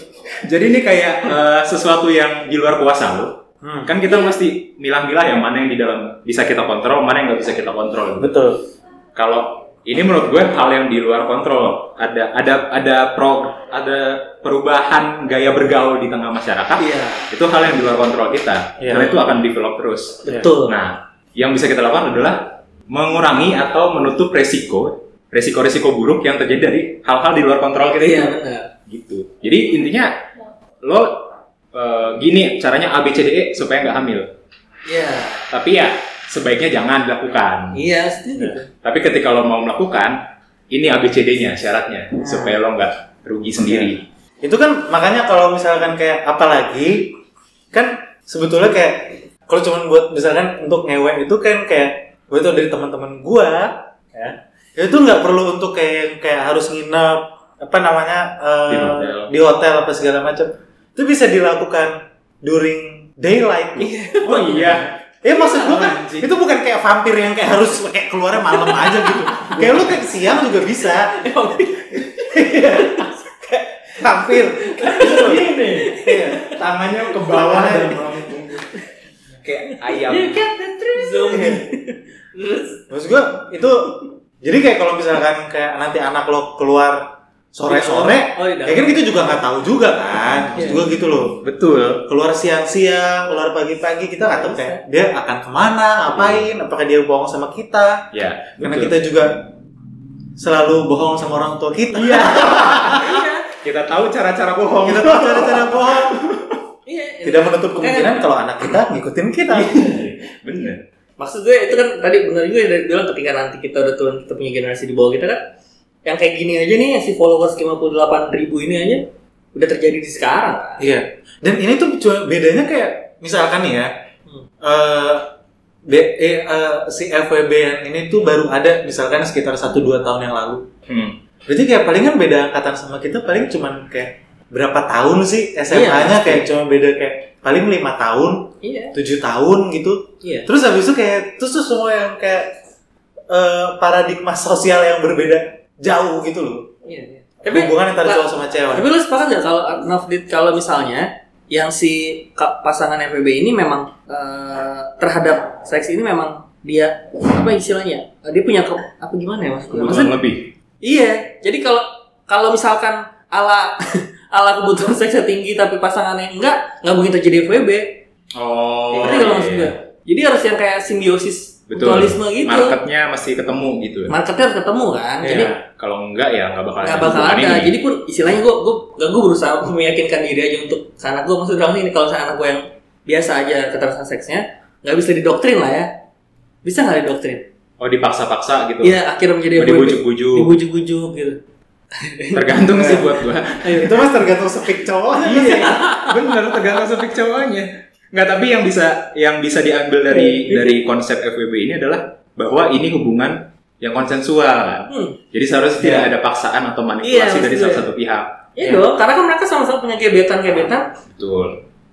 C: Jadi ini kayak eh, sesuatu yang di luar kuasa lo.
D: Hmm.
C: Kan kita mesti milah-milah yang mana yang di dalam bisa kita kontrol, mana yang nggak bisa kita kontrol.
B: Betul.
C: Kalau ini menurut gue hal yang di luar kontrol. Ada ada ada pro ada perubahan gaya bergaul di tengah masyarakat.
D: Iya.
C: Itu hal yang di luar kontrol kita.
B: Iya.
C: Karena itu akan develop terus.
D: Betul.
C: Nah, yang bisa kita lakukan adalah mengurangi atau menutup resiko resiko-resiko buruk yang terjadi dari hal-hal di luar kontrol kita
D: Iya
C: itu
D: benar.
C: gitu jadi intinya lo eh, gini caranya A B C D E supaya nggak hamil
D: Iya.
C: tapi ya sebaiknya jangan dilakukan Nah,
D: Iya, setuju.
C: tapi ketika lo mau melakukan ini A B C D nya syaratnya supaya lo nggak rugi sendiri
B: Itu kan makanya kalau misalkan kayak apalagi kan sebetulnya kayak kalau cuman buat misalkan untuk ngewe itu kan kayak gue tau dari teman-teman gua ya itu nggak perlu untuk kayak kayak harus nginep apa namanya eh,
C: Di hotel.
B: di hotel apa segala macam itu bisa dilakukan during daylight
C: oh iya
B: Eh maksud gua kan
C: Anjing.
B: itu bukan kayak vampir yang kayak harus kayak keluarnya malam aja gitu. kayak lu kayak siang juga bisa. Kayak vampir. Gitu loh. Iya, tangannya ke bawah.
C: kayak ayam
D: You get the truth. Zombie. Terus
B: Maksud gua itu jadi kayak kalau misalkan kayak nanti anak lo keluar sore-sore.
D: Oh, di dalam.
B: Ya kan kita juga nggak tahu juga kan. Maksud
D: Iya.
B: gua gitu loh.
C: Betul.
B: Keluar siang-siang, keluar pagi-pagi kita nggak tahu
D: Bisa.
B: kayak dia akan kemana,
D: Iya.
B: ngapain, apakah dia bohong sama kita?
C: Ya.
B: Karena
C: betul.
B: kita juga selalu bohong sama orang tua kita. Iya.
C: kita tahu cara-cara bohong.
B: kita tahu cara-cara bohong.
D: Iya. Eh.
B: Tidak menutup kemungkinan kalau anak kita ngikutin kita.
C: Bener.
D: Maksud gue itu kan tadi benar juga yang dari bilang ketika nanti kita udah turun kita punya generasi di bawah kita kan yang kayak gini aja nih yang si followers 58 ribu ini aja udah terjadi di sekarang kan.
B: Iya. Dan ini tuh cuma bedanya kayak misalkan nih ya,
D: Hmm.
B: eh, be- eh, eh, si FWB yang ini tuh baru ada misalkan sekitar 1-2 tahun yang lalu.
C: Hmm.
B: Berarti kayak palingan beda angkatan sama kita paling cuman kayak berapa tahun sih SMA-nya kayak cuma beda kayak paling lima tahun,
D: Iya.
B: tujuh tahun gitu.
D: Iya.
B: Terus habis itu kayak terus tuh semua yang kayak eh, paradigma sosial yang berbeda jauh gitu loh.
D: Iya. iya.
B: Hubungan antara
D: lah-
B: cowok sama cewek.
D: Tapi lu sepakat nggak kalau Nafdit kalau misalnya yang si ka- pasangan FPB ini memang eh, terhadap seks ini memang dia apa istilahnya eh, dia punya ke, apa gimana ya maksudnya?
C: Kebutuhan
D: Maksud-
C: lebih.
D: iya. Jadi kalau kalau misalkan ala ala kebutuhan seksnya tinggi tapi pasangannya enggak nggak mungkin terjadi FPB.
C: Oh.
D: Ngerti kalau maksud gue? Jadi harus yang kayak simbiosis
C: Betul.
D: iya. mutualisme gitu.
C: Marketnya masih ketemu gitu.
D: Marketnya harus ketemu kan. Jadi
C: Iya. Kalau enggak ya nggak bakal
D: nggak bakal ada.
C: hubungan ini.
D: Jadi pun istilahnya gue gue gak gue berusaha untuk meyakinkan diri aja untuk ke anak gue maksud dalam ini kalau misalnya anak gue yang biasa aja kekerasan seksnya nggak bisa didoktrin lah ya. Bisa nggak didoktrin?
C: Oh dipaksa-paksa gitu.
D: Iya akhirnya menjadi
C: Oh, dibujuk-bujuk.
D: dibujuk-bujuk gitu.
C: Tergantung sih buat gua.
B: Itu mas tergantung speak cowoknya.
C: Eh, Iya, bener tergantung sepik cowoknya. Nggak, tapi yang bisa yang bisa diambil dari dari konsep FWB ini adalah bahwa ini hubungan yang konsensual kan.
D: Hmm.
C: Jadi seharusnya tidak ada paksaan atau manipulasi
D: Iya,
C: dari
D: maksud
C: salah
D: gue.
C: satu pihak.
D: Iya dong. Karena kan mereka sama-sama punya gebetan-gebetan,
C: Betul.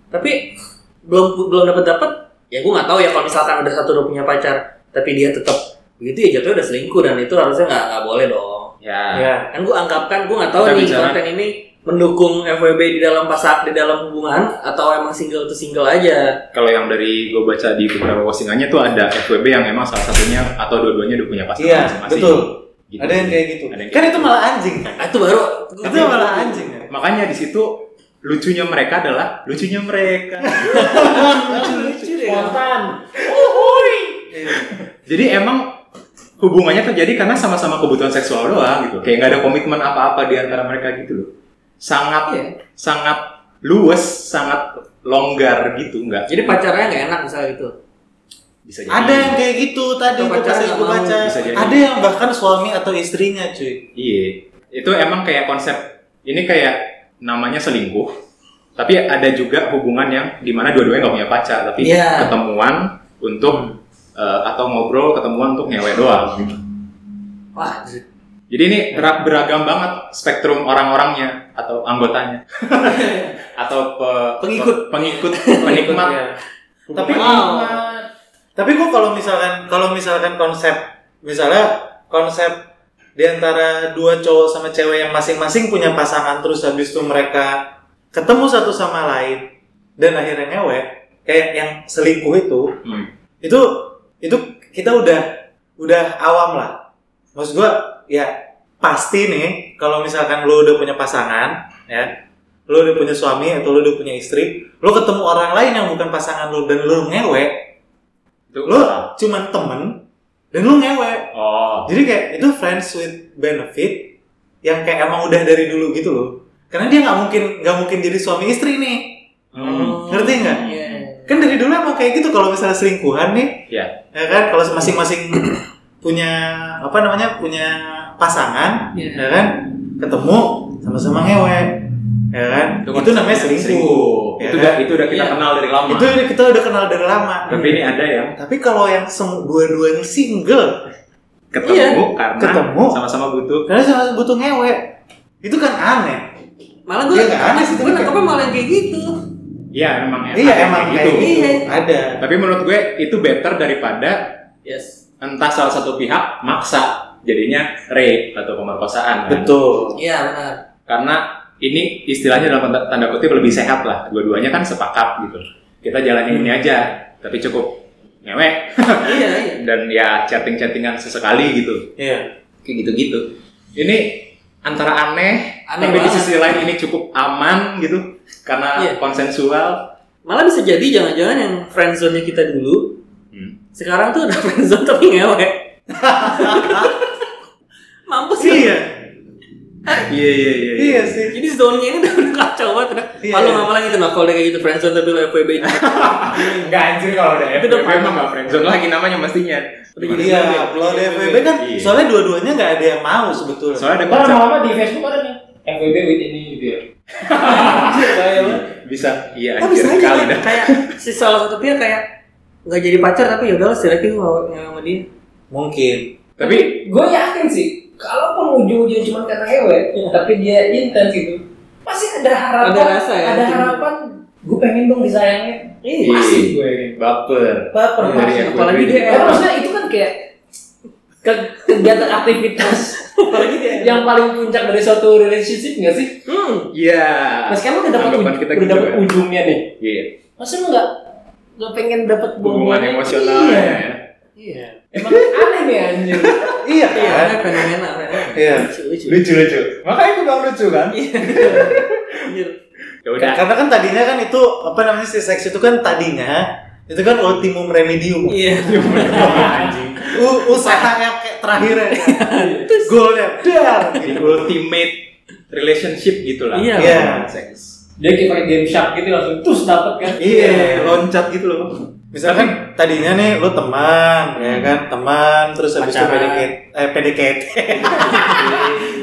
D: tapi belum belum dapat dapat. Ya gue nggak tahu ya kalau misalkan udah satu udah punya pacar, tapi dia tetap begitu ya jatuhnya udah selingkuh dan itu harusnya nggak nggak boleh dong.
C: Ya.
B: Iya.
D: kan gue anggapkan gue nggak tahu
C: Kita
D: nih
C: bicara.
D: konten ini mendukung FWB di dalam pasar di dalam hubungan atau emang single to single aja
C: Kalau yang dari gue baca di beberapa postingannya tuh ada FWB yang emang salah satunya atau dua-duanya udah punya pasangan
B: Iya,
C: masing-masing.
B: betul.
C: Gitu.
B: Ada yang kayak gitu.
C: Ada yang
B: Kan
C: kayak
B: itu
C: gitu.
B: malah anjing kan.
D: nah, itu baru
B: Itu malah anjing kan.
C: Makanya di situ lucunya mereka adalah lucunya mereka.
A: Spontan.
C: Jadi emang hubungannya terjadi karena sama-sama kebutuhan seksual doang gitu. Kayak nggak ada komitmen apa-apa di antara mereka gitu loh. Sangat
D: Iya.
C: sangat luwes, sangat longgar gitu nggak.
D: jadi pacarnya nggak enak misalnya gitu
C: bisa jadi.
B: Ada yang kayak gitu tadi
D: Atau
B: gua
D: pacaran
B: pas
D: nggak
B: gua
D: mau,
B: baca.
C: bisa jadi.
B: Ada yang bahkan suami atau istrinya cuy.
C: Iya. Itu emang kayak konsep ini kayak namanya selingkuh. Tapi ada juga hubungan yang dimana dua-duanya nggak punya pacar, tapi
D: Iya. Hmm.
C: ketemuan untuk eh, atau ngobrol ketemuan untuk ngewe doang. gitu.
D: wah anjir.
C: Jadi ini ber- beragam banget spektrum orang-orangnya atau anggotanya atau pe-
D: Pengikut.
C: pe- pengikut penikmat.
B: Iya. Tapi
D: Wow.
B: tapi gua kalau misalkan kalau misalkan konsep misalnya konsep di antara dua cowok sama cewek yang masing-masing punya pasangan terus habis itu mereka ketemu satu sama lain dan akhirnya ngewe kayak yang selingkuh itu
C: Hmm.
B: itu itu kita udah udah awam lah maksud gua ya pasti nih kalau misalkan lu udah punya pasangan ya lu udah punya suami atau lu udah punya istri lu ketemu orang lain yang bukan pasangan lu dan lu ngewe
C: Itu
B: lu cuman temen dan lu ngewe
C: Oh,
B: jadi kayak itu friends with benefit yang kayak emang udah dari dulu gitu loh karena dia nggak mungkin nggak mungkin jadi suami istri nih
C: Hmm.
B: ngerti nggak?
D: Oh, Iya.
B: kan dari dulu emang kayak gitu kalau misalnya selingkuhan nih
C: ya.
B: ya kan kalau masing-masing punya apa namanya punya pasangan
D: Iya.
B: ya kan ketemu sama-sama ngewe ya kan itu namanya selingkuh, ya kan?
C: Itu udah itu udah kita
D: Iya.
C: kenal dari lama.
B: itu kita udah kenal dari lama
C: Tapi ini ada yang
B: tapi kalau yang semu- dua-duanya single
C: ketemu
D: Iya.
C: karena
B: Ketemu.
C: sama-sama butuh.
B: karena sama butuh ngewe itu kan aneh
D: malah gue
B: Iya, nggak aneh sih,
D: gue
B: tapi kayak-
D: nangkepnya malah yang kayak gitu
C: Iya, memang
B: iya emang kayak gitu,
D: Iya.
B: ada
C: Tapi menurut gue itu better daripada
D: yes
C: entah salah satu pihak maksa jadinya rape atau pemerkosaan. kan?
B: betul
D: iya benar
C: karena ini istilahnya dalam tanda, tanda kutip lebih sehat lah dua-duanya kan sepakat gitu kita jalanin ini aja tapi cukup ngewek
D: iya iya
C: dan ya chatting-chattingan sesekali gitu
B: iya
C: kayak gitu-gitu ini antara aneh,
D: Aneh
C: tapi di
D: banget.
C: sisi lain ini cukup aman gitu karena
D: Iya.
C: konsensual.
D: Malah bisa jadi jangan-jangan yang friendzone-nya kita dulu
C: Hmm.
D: sekarang tuh ada friendzone tapi ngewe. Mampus ya.
B: Iya,
C: Iya iya iya.
B: iya sih.
D: Jadi zone-nya ini udah kacau banget. udah.
B: Iya,
D: Malu
B: iya.
D: ngapa lagi tuh nah, kalau dia kayak gitu friendzone tapi lo FWB
E: Enggak anjir kalau udah
D: Itu udah
C: Tapi emang nggak friendzone lagi namanya mestinya.
B: Iya, upload FWB kan
C: Iya.
B: soalnya dua-duanya nggak ada yang mau sebetulnya.
C: Soalnya ada
A: Ntar
C: konsep
A: lama-lama di Facebook ada nih FWB with ini gitu ya.
C: bisa iya
B: Oh, bisa
C: anjir
B: aja,
C: kali
B: kan?
C: dah.
D: kayak si salah satu pihak kayak nggak jadi pacar tapi ya udahlah setidaknya gue nggak nggak sama dia.
B: Mungkin.
C: Tapi
F: gue yakin sih kalaupun ujung-ujungnya cuma kata hewe tapi dia intens gitu pasti ada harapan
D: Ada rasa ya?
F: ada harapan gue pengen dong disayangnya
D: Iya.
F: pasti gue yakin
C: baper.
F: Eh, baper
C: Dari
F: pasti.
C: FWB.
D: Apalagi dia
C: Iya.
F: Karena maksudnya itu kan kayak ke- kegiatan aktivitas
D: Apalagi dia.
F: yang paling puncak dari suatu relationship nggak sih?
D: Hmm.
C: Iya.
F: Mas kamu udah dapat
C: Anggapan
F: uj-
C: kita
F: udah
C: gitu
F: dapat
C: kan.
F: ujungnya nih.
C: Iya.
F: Masa lu nggak nggak pengen dapat
C: Hubungan
F: buah-buahan?
C: emosional
F: Iya.
C: ya.
D: Iya.
F: Emang aneh nih anjir.
B: Iya
D: Iya.
B: kan?
D: ada Fenomena. fenomena.
B: Iya.
D: Lucu, lucu.
C: Lucu lucu.
E: Makanya itu bilang lucu kan?
F: Iya.
D: Anjir.
C: Ya udah.
B: Karena kan tadinya kan itu apa namanya si seks itu kan tadinya itu kan ultimum remedium.
D: Iya.
C: Anjing.
B: U- usaha yang kayak terakhirnya. kan? Goalnya dar.
C: Jadi ultimate relationship gitu lah.
D: Iya.
B: Iya.
C: Seks.
A: Dia kayak pakai game shark gitu langsung terus dapet kan.
B: Iya,
C: loncat gitu loh.
B: Misalkan tadinya nih lu teman, ya kan? Teman terus habis itu
D: Pacaran.
B: PDKT eh PDKT.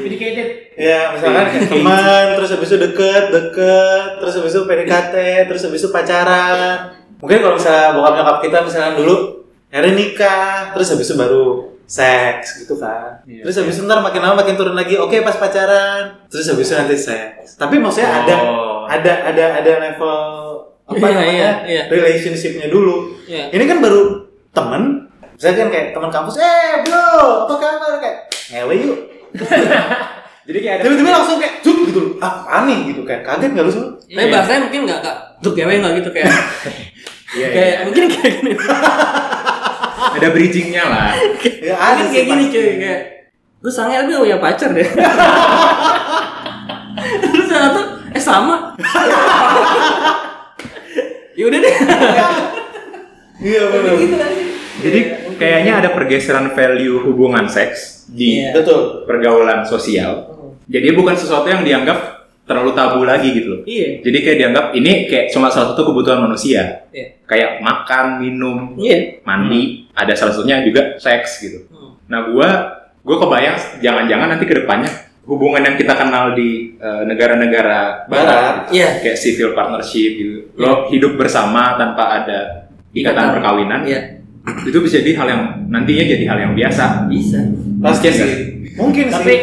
A: Dedicated.
B: ya, misalkan
D: Iya.
B: kayak teman terus habis itu deket, deket, terus habis itu PDKT, terus habis itu pacaran. Mungkin kalau misalnya bokap nyokap kita misalkan dulu akhirnya nikah, terus habis itu baru seks gitu kan.
C: Iya.
B: terus habis itu ntar makin lama makin turun lagi. Oke, pas pacaran. Terus habis itu nanti seks. Tapi maksudnya ada
C: Oh.
B: ada ada ada level apa
D: Iya,
B: namanya?
D: iya, iya.
B: relationship-nya dulu.
D: Iya.
B: Ini kan baru temen, misalnya kan kayak teman kampus, eh bro, apa kabar kayak ngewe yuk.
C: Jadi kayak ada
B: Tiba-tiba langsung kayak juk gitu loh, apaan nih gitu kayak kaget nggak lu semua?
D: Tapi
C: Iya.
D: bahasanya mungkin nggak kak. Untuk cewek nggak gitu kayak.
C: Iya,
D: kayak
C: iya.
D: mungkin kayak gini.
C: ada bridgingnya lah.
B: Ya
D: Mungkin kayak gini
B: pasti.
D: cuy kayak. Gue sange gue punya pacar deh. Terus ternyata eh sama. ya udah deh.
B: Iya benar.
F: gitu kan.
C: Jadi kayaknya ada pergeseran value hubungan seks di
D: Iya.
B: Betul.
C: pergaulan sosial.
F: Hmm.
C: Jadi bukan sesuatu yang dianggap terlalu tabu lagi gitu loh.
D: Iya.
C: Jadi kayak dianggap ini kayak cuma salah satu kebutuhan manusia.
D: Iya.
C: Kayak makan, minum,
D: Iya.
C: mandi, ada salah satunya juga seks gitu.
D: Hmm.
C: Nah, gua gua kebayang jangan-jangan nanti ke depannya hubungan yang kita kenal di eh, negara-negara
B: Barat.
C: barat, gitu.
D: Iya.
C: kayak civil partnership gitu. Lo hidup bersama tanpa ada ikatan
D: Ikatan.
C: perkawinan.
D: Iya.
C: Itu bisa jadi hal yang nantinya jadi hal yang biasa.
D: Bisa.
B: Pasti
C: Mungkin
B: sih. Mungkin sih.
A: Tapi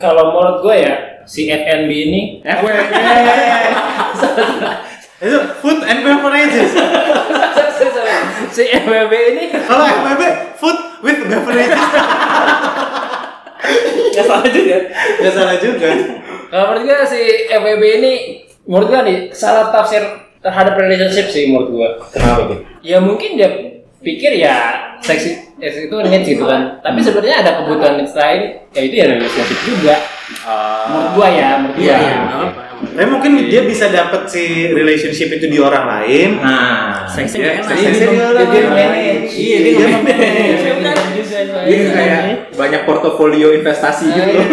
A: kalau menurut gue ya si FNB ini
C: Eh,
B: itu food and beverages.
A: si FWB ini
B: Kalau FBB food with beverages
D: Gak salah juga.
B: nggak salah juga.
A: kalau menurut gue si FWB ini menurut gue nih salah tafsir terhadap relationship sih menurut gue.
C: Kenapa tuh?
A: Ya mungkin dia pikir ya seksi seks itu needs gitu kan. Tapi sebenarnya ada kebutuhan needs lain ya itu ya relationship juga.
C: Eh,
A: Menurut gue ya, menurut gue.
D: Iya. Iya. nggak apa-apa.
B: Tapi mungkin dia bisa dapet si relationship itu di orang lain.
C: Nah,
D: Seksnya
C: dia-
D: nggak enak.
C: seksnya
B: Seksnya
C: dia-
B: dia-
A: Jadi
B: dia-
A: manage.
D: Iya, dia
B: Dia
D: nge-manage.
B: nge-manage.
D: Iya, kan? ya? Iya,
C: dia kayak banyak portofolio investasi gitu. loh.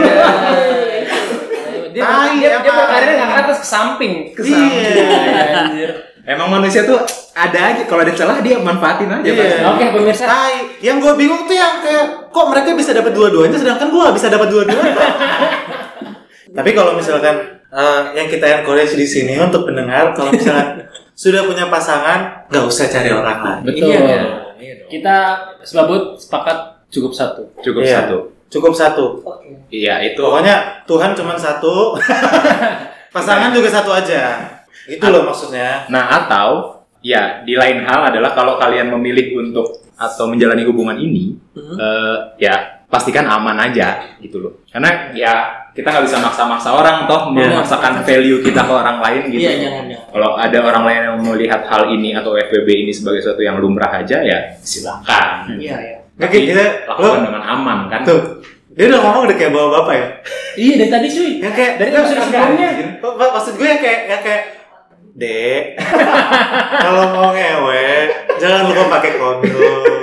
A: Dia, Iya, dia, dia berkarir nggak ke atas ke samping, ke samping.
B: Iya.
A: Anjir.
C: Emang manusia tuh ada aja kalau ada celah dia manfaatin aja
B: Iya.
C: pasti.
A: Oke pemirsa,
B: Tai. Yang gue bingung tuh yang kayak kok mereka bisa dapat dua-duanya sedangkan gue gak bisa dapat dua-duanya. Tapi kalau misalkan eh, yang kita encourage di sini untuk pendengar kalau misalkan sudah punya pasangan nggak usah cari orang lain.
A: betul.
D: Iya, kan? Iya dong.
A: Kita sebabut sepakat cukup satu.
C: Cukup
B: Iya.
C: satu.
B: Cukup satu.
C: Iya, itu.
B: Pokoknya Tuhan cuma satu. pasangan juga satu aja. Itu loh maksudnya.
C: Nah, atau ya di lain hal adalah kalau kalian memilih untuk atau menjalani hubungan ini
D: Mhm.
C: eh, ya pastikan aman aja gitu loh. Karena ya kita nggak bisa maksa-maksa orang toh
B: Iya.
C: memaksakan value kita ke orang lain gitu.
D: Iya, jangan jangan.
C: Kalau ada orang lain yang melihat hal ini atau FBB ini sebagai sesuatu yang lumrah aja ya silakan.
D: Iya, iya.
B: Oke, kita
C: Lakukan
B: lo
C: dengan aman kan.
B: tuh Dia udah ngomong udah kayak bawa bapak ya.
A: Iya dari tadi cuy.
B: Yang kayak
A: Dari
B: nggak,
A: episode
B: nggak,
A: sebelumnya.
B: anjir. Ma- ma- Iya. Maksud gue yang kayak yang kayak Dek, kalau mau ngewe, jangan lupa pakai kondom.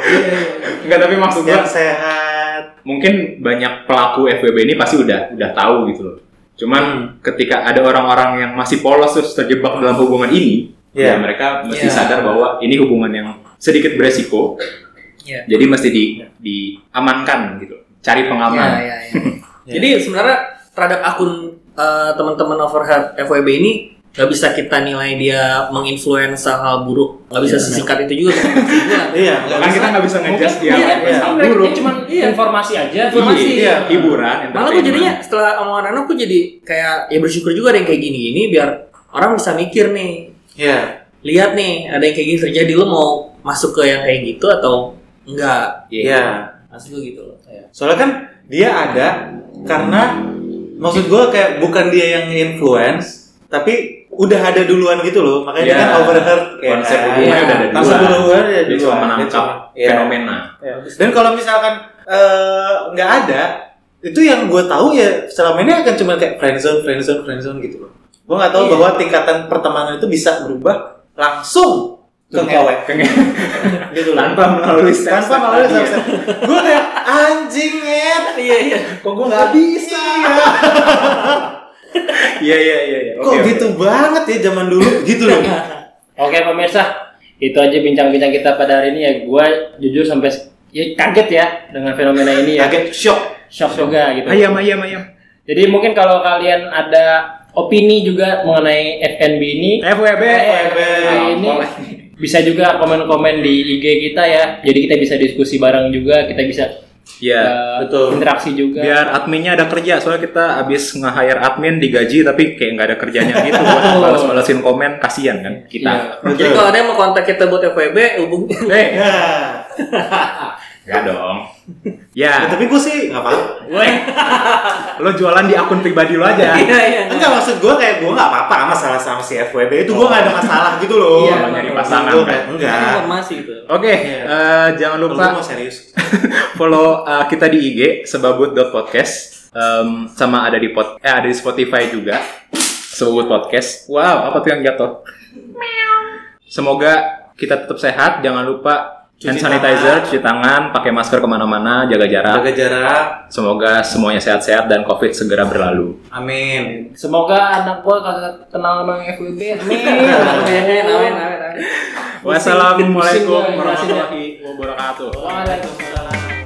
C: Enggak tapi maksud
B: yang
C: gua
B: sehat.
C: Iya. mungkin banyak pelaku FWB ini pasti udah udah tahu gitu loh. Cuman ketika ada orang-orang yang masih polos terus terjebak dalam hubungan ini,
B: Iya.
C: ya mereka mesti
D: Iya.
C: sadar bahwa ini hubungan yang sedikit beresiko.
D: Iya.
C: Jadi mesti di diamankan gitu. Cari
D: Ya,
C: pengaman.
D: ya, ya. Jadi sebenarnya terhadap akun eh, teman-teman overhead FWB ini nggak bisa kita nilai dia menginfluensa hal buruk. Nggak bisa sesingkat itu juga. teman-teman hubungan.
B: Iya, nggak
C: Kan kita nggak bisa ngejudge
A: Iya,
C: dia. apa yang
A: iya,
C: salah buruk.
A: cuma
D: Iya.
A: informasi aja.
D: Informasi.
B: Iya.
C: Hiburan,
D: Malah gue
C: entertainment.
D: jadinya setelah omongan Rano gue jadi kayak ya bersyukur juga ada yang kayak gini-gini biar orang bisa mikir nih.
B: Iya.
D: Lihat nih ada yang kayak gini terjadi lo mau masuk ke yang kayak gitu atau enggak?
B: Iya.
D: Maksud gue gitu loh.
B: Soalnya kan dia ada karena maksud gue kayak bukan dia yang influence, tapi udah ada duluan gitu loh. Makanya dia
C: Iya.
B: kan overheard kayak
C: Konsep hubungannya
D: Iya.
C: udah ada dua.
B: Konsep hubungan udah ada
C: Dia cuma
B: duluan.
C: menangkap
B: Iya.
C: fenomena.
B: Iya. Dan kalau misalkan eh, nggak ada, itu yang gue tahu ya selama ini akan cuma kayak friendzone, friendzone, friendzone gitu loh. Gue nggak tahu bahwa tingkatan pertemanan itu bisa berubah langsung ke ngewe gitu loh.
C: Tanpa melalui step-step
B: Tanpa melalui
C: tadi ya.
B: step-step. Gue kayak anjing Ed."
D: Iya iya.
E: Kok gue nggak bisa?
C: Iya iya iya. iya.
B: Kok
C: Oke, oke.
B: gitu banget ya zaman dulu gitu loh.
A: Oke pemirsa, itu aja bincang-bincang kita pada hari ini ya. Gue jujur sampai ya kaget ya dengan fenomena ini ya.
B: Agak shock.
A: Shock juga gitu.
B: Iya.
C: Ayam ayam ayam.
A: Jadi mungkin kalau kalian ada opini juga mengenai FNB ini,
C: FWB.
A: FWB. Nah,
D: Nah,
A: ini bisa juga komen-komen di IG kita ya. Jadi kita bisa diskusi bareng juga, kita bisa
C: Iya.
D: Ya,
A: eh,
B: betul.
A: interaksi juga.
C: Biar adminnya ada kerja, soalnya kita abis nge-hire admin digaji tapi kayak nggak ada kerjanya gitu buat
A: Betul.
C: balas-balasin komen, kasihan kan kita.
D: Jadi kalau ada yang mau kontak kita buat FWB hubungi.
C: Eh,
B: Ya.
C: nggak dong. Ya,
B: tapi gue sih nggak apa-apa.
C: lo jualan di akun pribadi lo aja.
D: Iya iya.
B: Enggak maksud gue kayak gue nggak apa-apa sama salah sama si FWB itu gue nggak ada masalah gitu loh.
C: Iya, nyari pasangan,
B: Gua
C: kan?
B: kayak,
D: Ini
B: Enggak.
D: Informasi gitu.
C: Oke,
B: Iya.
C: eh, jangan
B: Kalau gue
C: lupa
B: mau serius.
C: follow uh, kita di IG sebabut.podcast Em, Um, sama ada di pod eh ada di Spotify juga sebabut podcast. Wow, apa tuh yang jatuh? Semoga kita tetap sehat. Jangan lupa hand
B: Cuci
C: sanitizer,
B: tangan.
C: cuci tangan, pakai masker kemana-mana, jaga jarak.
B: Jaga jarak.
C: Semoga semuanya sehat-sehat dan COVID segera berlalu.
B: Amin.
A: Semoga anak gua kagak kenal sama FWB. Amin.
D: Amin amin amin. amin.
C: Wassalamualaikum
A: pusing gua, jelasin ya.
C: warahmatullahi wabarakatuh.
A: Waalaikumsalam.